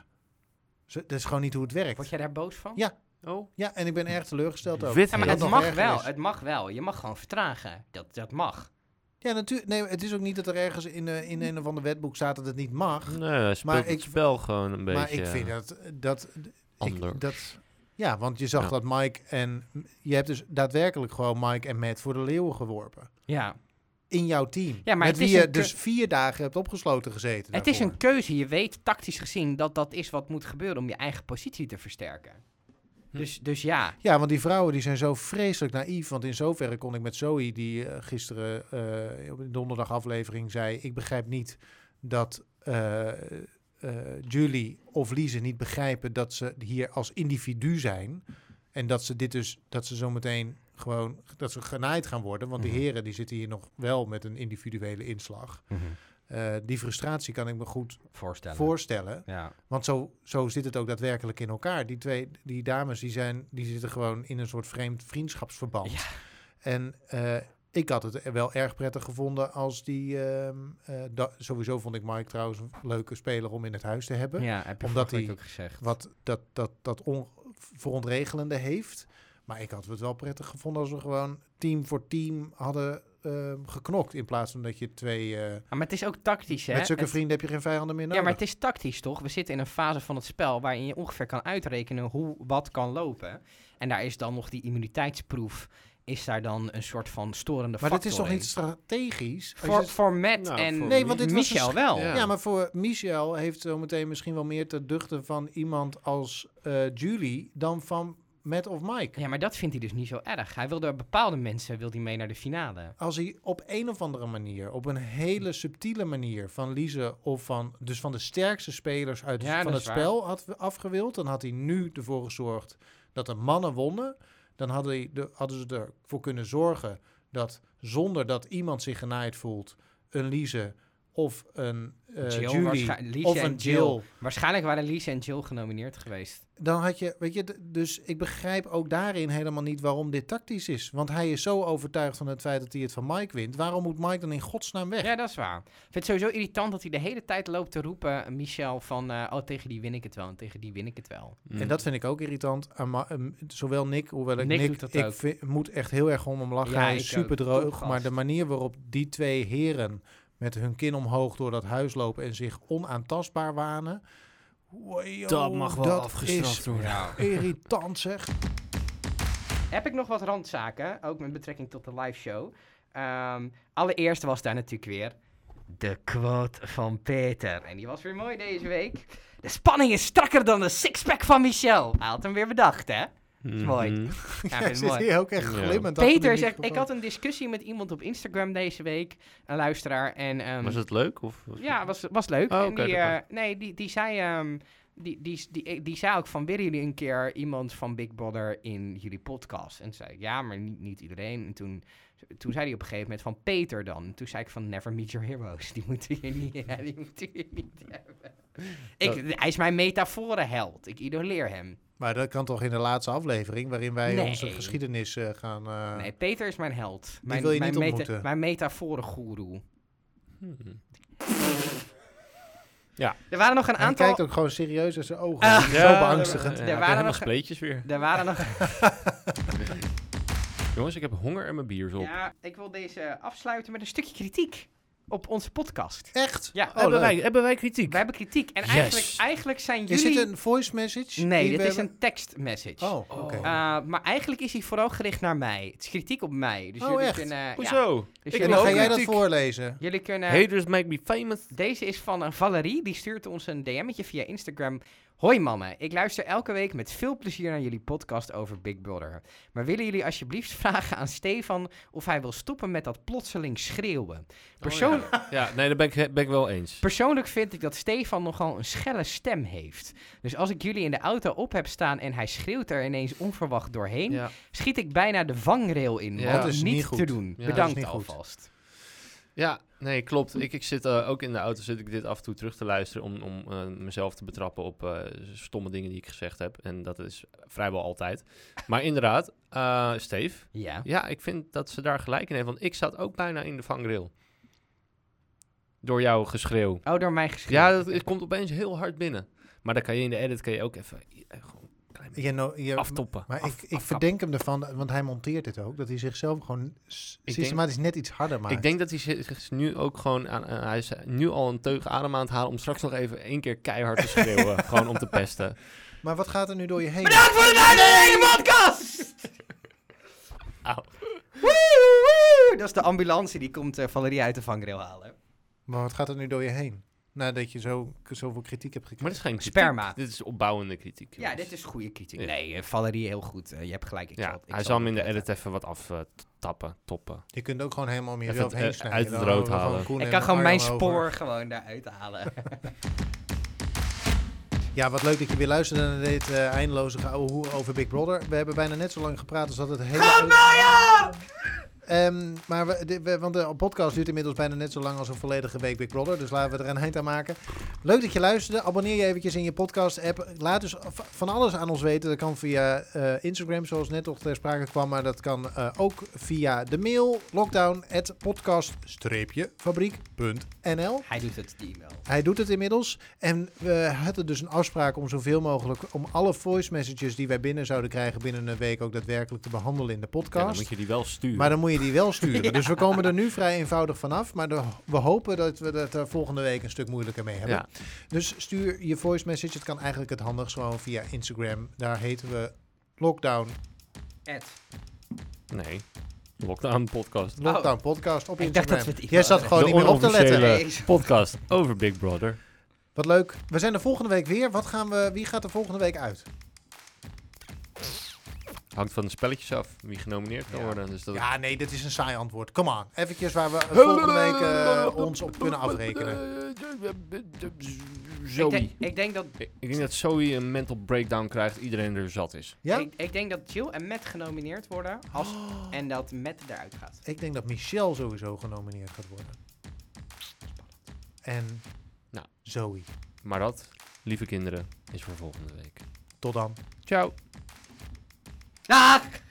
C: zo- dat is gewoon niet hoe het werkt.
A: Word jij daar boos van?
C: Ja,
B: Oh,
C: Ja, en ik ben erg teleurgesteld ook.
B: Wit
A: Ja, maar
C: Wat
A: het
B: heel.
C: nog
A: mag
C: erger
A: wel.
C: is.
A: Het mag wel. Je mag gewoon vertragen. Dat, dat mag.
C: Ja, natuurlijk. Nee, het is ook niet dat er ergens in, eh, in een of ander wetboek staat dat het niet mag.
B: Nee, speelt het
C: ik-
B: spel gewoon een beetje.
C: maar ik vind dat... dat
B: anders.
C: Ik, dat ja, want je zag
B: Ja.
C: dat Mike en... Je hebt dus daadwerkelijk gewoon Mike en Matt voor de leeuwen geworpen.
A: Ja.
C: In jouw team.
A: Ja, maar
C: met
A: het is
C: wie je
A: een ke-
C: dus vier dagen hebt opgesloten gezeten.
A: Het is
C: daarvoor.
A: een keuze. Je weet tactisch gezien dat dat is wat moet gebeuren om je eigen positie te versterken.
B: Hm.
A: Dus, dus ja.
C: Ja, want die vrouwen die zijn zo vreselijk naïef. Want in zoverre kon ik met Zoe, die eh, gisteren eh, op de donderdag aflevering zei... ik begrijp niet dat eh, eh, Julie of Lise niet begrijpen dat ze hier als individu zijn... en dat ze dit dus, dat ze zometeen gewoon, dat ze genaaid gaan worden. Want
A: Mhm.
C: die heren die zitten hier nog wel met een individuele inslag. Eh, die frustratie kan ik me goed
A: Voorstellen.
C: voorstellen.
A: Ja.
C: Want zo, zo zit het ook daadwerkelijk in elkaar. Die twee, die dames, die, zijn, die zitten gewoon in een soort vreemd vriendschapsverband.
A: Ja.
C: En eh, ik had het wel erg prettig gevonden als die... ehm, eh, da- sowieso vond ik Mike trouwens een leuke speler om in het huis te hebben.
A: ja heb je
C: Omdat
A: vorige week
C: die-
A: ook gezegd.
C: Wat dat, dat, dat on- verontregelende heeft. Maar ik had het wel prettig gevonden als we gewoon team voor team hadden ehm, geknokt. In plaats van dat je twee... eh,
A: Ah, maar het is ook tactisch, hè?
C: met zulke
A: Het-
C: vrienden heb je geen vijanden meer nodig.
A: Ja, maar het is tactisch, toch? We zitten in een fase van het spel waarin je ongeveer kan uitrekenen hoe wat kan lopen. En daar is dan nog die immuniteitsproef, is daar dan een soort van storende
C: Maar
A: factor
C: dit is toch
A: in.
C: niet strategisch? Als
A: Voor,
C: je-
A: voor Matt
B: Nou,
A: en
B: voor-
C: Nee, want dit was een
A: Michel
C: sch-
A: wel.
B: Ja.
C: Ja. maar voor Michel heeft zometeen misschien wel meer te duchten van iemand als eh, Julie dan van Matt of Mike.
A: Ja, maar dat vindt hij dus niet zo erg. Hij wilde bepaalde mensen wil hij mee naar de finale.
C: Als hij op een of andere manier, op een hele subtiele manier van Lize of van, dus van de sterkste spelers uit
A: Ja, dat
C: van het
A: is waar.
C: spel had we- afgewild, dan had hij nu ervoor gezorgd dat de mannen wonnen. Dan hadden, hij de, hadden ze ervoor kunnen zorgen dat zonder dat iemand zich genaaid voelt, een Lize of een eh,
A: Jill waarschijn-
C: Julie
A: Lize
C: of
A: en
C: een
A: Jill.
C: Jill
A: Waarschijnlijk waren Lise en Jill genomineerd geweest.
C: dan had je, weet je, d- dus ik begrijp ook daarin helemaal niet waarom dit tactisch is. Want hij is zo overtuigd van het feit dat hij het van Mike wint. Waarom moet Mike dan in godsnaam weg?
A: Ja, dat is waar. Ik vind het sowieso irritant dat hij de hele tijd loopt te roepen, Michel, van eh, oh, tegen die win ik het wel en tegen die win ik het wel.
B: Mm. Mhm.
C: En dat vind ik ook irritant. aan Ma- ehm, zowel Nick, hoewel ik
A: Nick
C: Nick,
A: doet dat
C: ik
A: ook.
C: vind- moet echt heel erg om hem lachen.
A: Ja,
C: hij
A: ik
C: is
A: ook.
C: super droog.
A: Topgast.
C: Maar de manier waarop die twee heren met hun kin omhoog door dat huis lopen en zich onaantastbaar wanen. Wow, dat is Irritant zeg.
A: Heb ik nog wat randzaken, ook met betrekking tot de live show. Ehm, allereerst was daar natuurlijk weer de quote van Peter. En die was weer mooi deze week. De spanning is strakker dan de sixpack van Michel. Hij had hem weer bedacht, hè?
B: is
A: mooi. Ja,
C: [LAUGHS] Hij [LAUGHS]
A: vind ik
C: zit
A: mooi.
C: hier ook echt
B: Ja.
C: glimmend. achter de
A: Peter zegt, ik
C: microfoon.
A: had een discussie met iemand op Instagram deze week, een luisteraar. En, ehm,
B: Was het leuk? Of was
A: Ja, was, was leuk.
B: Oh,
A: en
B: oké,
A: die,
B: dat
A: eh,
B: kan.
A: nee, die, die zei... ehm, die, die, die, die zei ook van, willen jullie een keer iemand van Big Brother in jullie podcast? En toen zei ik, ja, maar niet, niet iedereen. En toen, toen zei hij op een gegeven moment van Peter dan. En toen zei ik van, never meet your heroes. Die moeten je niet, [LAUGHS] ja, die moeten je niet hebben. Ik, hij is mijn metaforenheld. Ik idoleer hem.
C: Maar dat kan toch in de laatste aflevering, waarin wij
A: Nee.
C: onze geschiedenis eh, gaan. eh,
A: Nee, Peter is mijn held. Mijn,
C: wil je
A: mijn
C: niet
A: meta-
C: ontmoeten.
A: Mijn metaforengoeroe.
B: Hmm.
A: Er waren nog een
C: Hij
A: aantal...
C: kijkt ook gewoon serieus in zijn ogen.
A: Ah.
C: Dat is
B: Ja,
C: zo beangstigend.
B: Ja,
A: Er
B: ik heb
A: waren
B: helemaal
A: nog-
B: spleetjes weer.
A: Er waren
C: [LAUGHS]
A: nog...
B: Jongens, ik heb honger en mijn bier is op.
A: Ja, ik wil deze afsluiten met een stukje kritiek. op onze podcast.
C: Echt?
A: Ja,
C: Oh,
B: hebben,
C: leuk.
B: wij, hebben wij kritiek?
A: we hebben kritiek. En
B: Yes.
A: eigenlijk, eigenlijk zijn
C: Is dit
A: jullie...
C: een voice message?
A: Nee,
C: die
A: dit
C: we
A: is
C: hebben?
A: een tekstmessage.
C: Oh, oké.
B: Oh.
A: Eh, maar eigenlijk is hij vooral gericht naar mij. Het is kritiek op mij. Dus
C: Oh,
A: jullie
C: echt?
A: kunnen... ja.
B: Hoezo?
A: Dus
B: Ik
C: en
A: jullie,
C: dan
B: wil
C: ga
B: ook
C: jij dat
B: kritiek.
C: voorlezen.
A: jullie kunnen...
B: Haters make me famous.
A: Deze is van eh, Valerie. Die stuurt ons een DM'tje via Instagram. Hoi mannen, ik luister elke week met veel plezier naar jullie podcast over Big Brother. Maar willen jullie alsjeblieft [LAUGHS] vragen aan Stefan of hij wil stoppen met dat plotseling schreeuwen?
C: Oh,
A: Persoonlijk.
B: Ja, nee, daar ben ik, ben ik wel eens.
A: [LAUGHS] Persoonlijk vind ik dat Stefan nogal een schelle stem heeft. Dus als ik jullie in de auto op heb staan en hij schreeuwt er ineens onverwacht doorheen,
B: Ja.
A: schiet ik bijna de vangrail in.
B: Ja.
A: Wat
B: Dat
C: is
A: niet,
C: niet goed.
A: te doen.
B: Ja,
C: dat is
A: Bedankt
C: niet goed.
A: alvast.
B: ja, nee, klopt. Ik, ik zit eh, ook in de auto, zit ik dit af en toe terug te luisteren om, om eh, mezelf te betrappen op eh, stomme dingen die ik gezegd heb. En dat is vrijwel altijd. Maar inderdaad, eh Steve,
A: Ja.
B: ja, ik vind dat ze daar gelijk in heeft, want ik zat ook bijna in de vangrail. Door jouw geschreeuw.
A: Oh, door mij geschreeuw.
B: Ja, dat, het komt opeens heel hard binnen. Maar dan kan je in de edit kan je ook even eh, gewoon een klein beetje
C: Je no- je-
B: aftoppen.
C: Maar
B: Af-
C: ik, ik
B: afkappen.
C: verdenk hem ervan, want hij monteert dit ook, dat hij zichzelf gewoon s-
B: denk-
C: systematisch net iets harder maakt.
B: Ik denk dat hij zich zich nu ook gewoon aan, aan- hij is nu al een teug adem aan het halen om straks nog even één keer keihard te schreeuwen, gewoon om te pesten.
C: Maar wat gaat er nu door je heen?
A: Bedankt voor het luisteren naar de podcast!
B: Auw.
A: Woe, woe. Dat is de ambulance die komt eh, Valerie uit de vangrail halen.
C: Maar wat gaat er nu door je heen? Nadat je zo, zoveel kritiek hebt
B: Maar
C: gekregen.
B: dit is geen kritiek.
A: Sperma.
B: Dit is opbouwende kritiek.
A: Ja,
B: jongens.
A: dit is goede kritiek.
B: Ja.
A: Nee, eh, Valerie, heel goed. Eh, je hebt gelijk. Ik
B: ja,
A: zal, ik
B: hij zal hem in de
A: het
B: edit even wat aftappen, toppen.
C: Je kunt ook gewoon helemaal om
B: Even
C: jezelf
B: het,
C: heen
B: eh,
C: snijden.
B: uit het
C: Dan
B: rood
C: houden we
B: halen.
C: Koen
A: Ik
C: en
A: kan gewoon
C: Arjan
A: mijn
C: over.
A: spoor gewoon daaruit [LAUGHS] halen.
C: Ja, wat leuk dat je weer luisterde naar dit eh, eindeloze geouwe hoer over Big Brother. We hebben bijna net zo lang gepraat als dat het hele...
A: Nou
C: Ehm, maar we, dit- we- want de podcast duurt inmiddels bijna net zo lang als een volledige week Big Brother. Dus laten we er een eind aan maken. Leuk dat je luisterde. Abonneer je eventjes in je podcast-app. Laat dus v- van alles aan ons weten. Dat kan via eh, Instagram, zoals net nog ter sprake kwam. Maar dat kan eh, ook via de mail lockdown.podcast-fabriek.nl.
A: Hij doet het team wel.
C: Hij doet het inmiddels. En we hadden dus een afspraak om zoveel mogelijk... om alle voice messages die wij binnen zouden krijgen... binnen een week ook daadwerkelijk te behandelen in de
B: Ja, dan
C: podcast.
B: moet je die wel sturen.
C: Maar dan moet je die wel
B: [LAUGHS]
C: sturen. Dus we komen er nu vrij eenvoudig vanaf. Maar de- we hopen dat we het er volgende week een stuk moeilijker mee hebben.
B: ja.
C: Dus stuur je voice message. Het kan eigenlijk het handigst gewoon via Instagram. Daar heten we Lockdown,
A: Ed.
B: Nee. Lockdown podcast.
C: Lockdown Podcast op
A: Ik dacht
C: Instagram.
A: dat we het
C: Jij zat gewoon
B: De
C: niet meer op te letten.
B: onofficiële
A: Nee.
B: podcast over Big Brother.
C: Wat leuk. We zijn er volgende week weer. Wat gaan we, wie gaat er volgende week uit?
B: Hangt van de spelletjes af wie genomineerd kan
C: Ja.
B: worden. Dus dat
C: Ja, nee, dit is een saai antwoord. Come on. Eventjes waar we volgende week eh, ons op kunnen afrekenen.
A: Ik
B: Zoe.
A: denk, ik denk dat
B: Ik ik denk dat Zoe een mental breakdown krijgt. Iedereen er zat is.
C: Ja?
A: Ik, ik denk dat Jill en Matt genomineerd worden. [GASPS] Als, En dat Matt eruit gaat.
C: Ik denk dat Michelle sowieso genomineerd gaat worden. En
B: Nou.
C: Zoe.
B: Maar dat, lieve kinderen, is voor volgende week.
C: Tot dan.
B: Ciao.
A: Ah!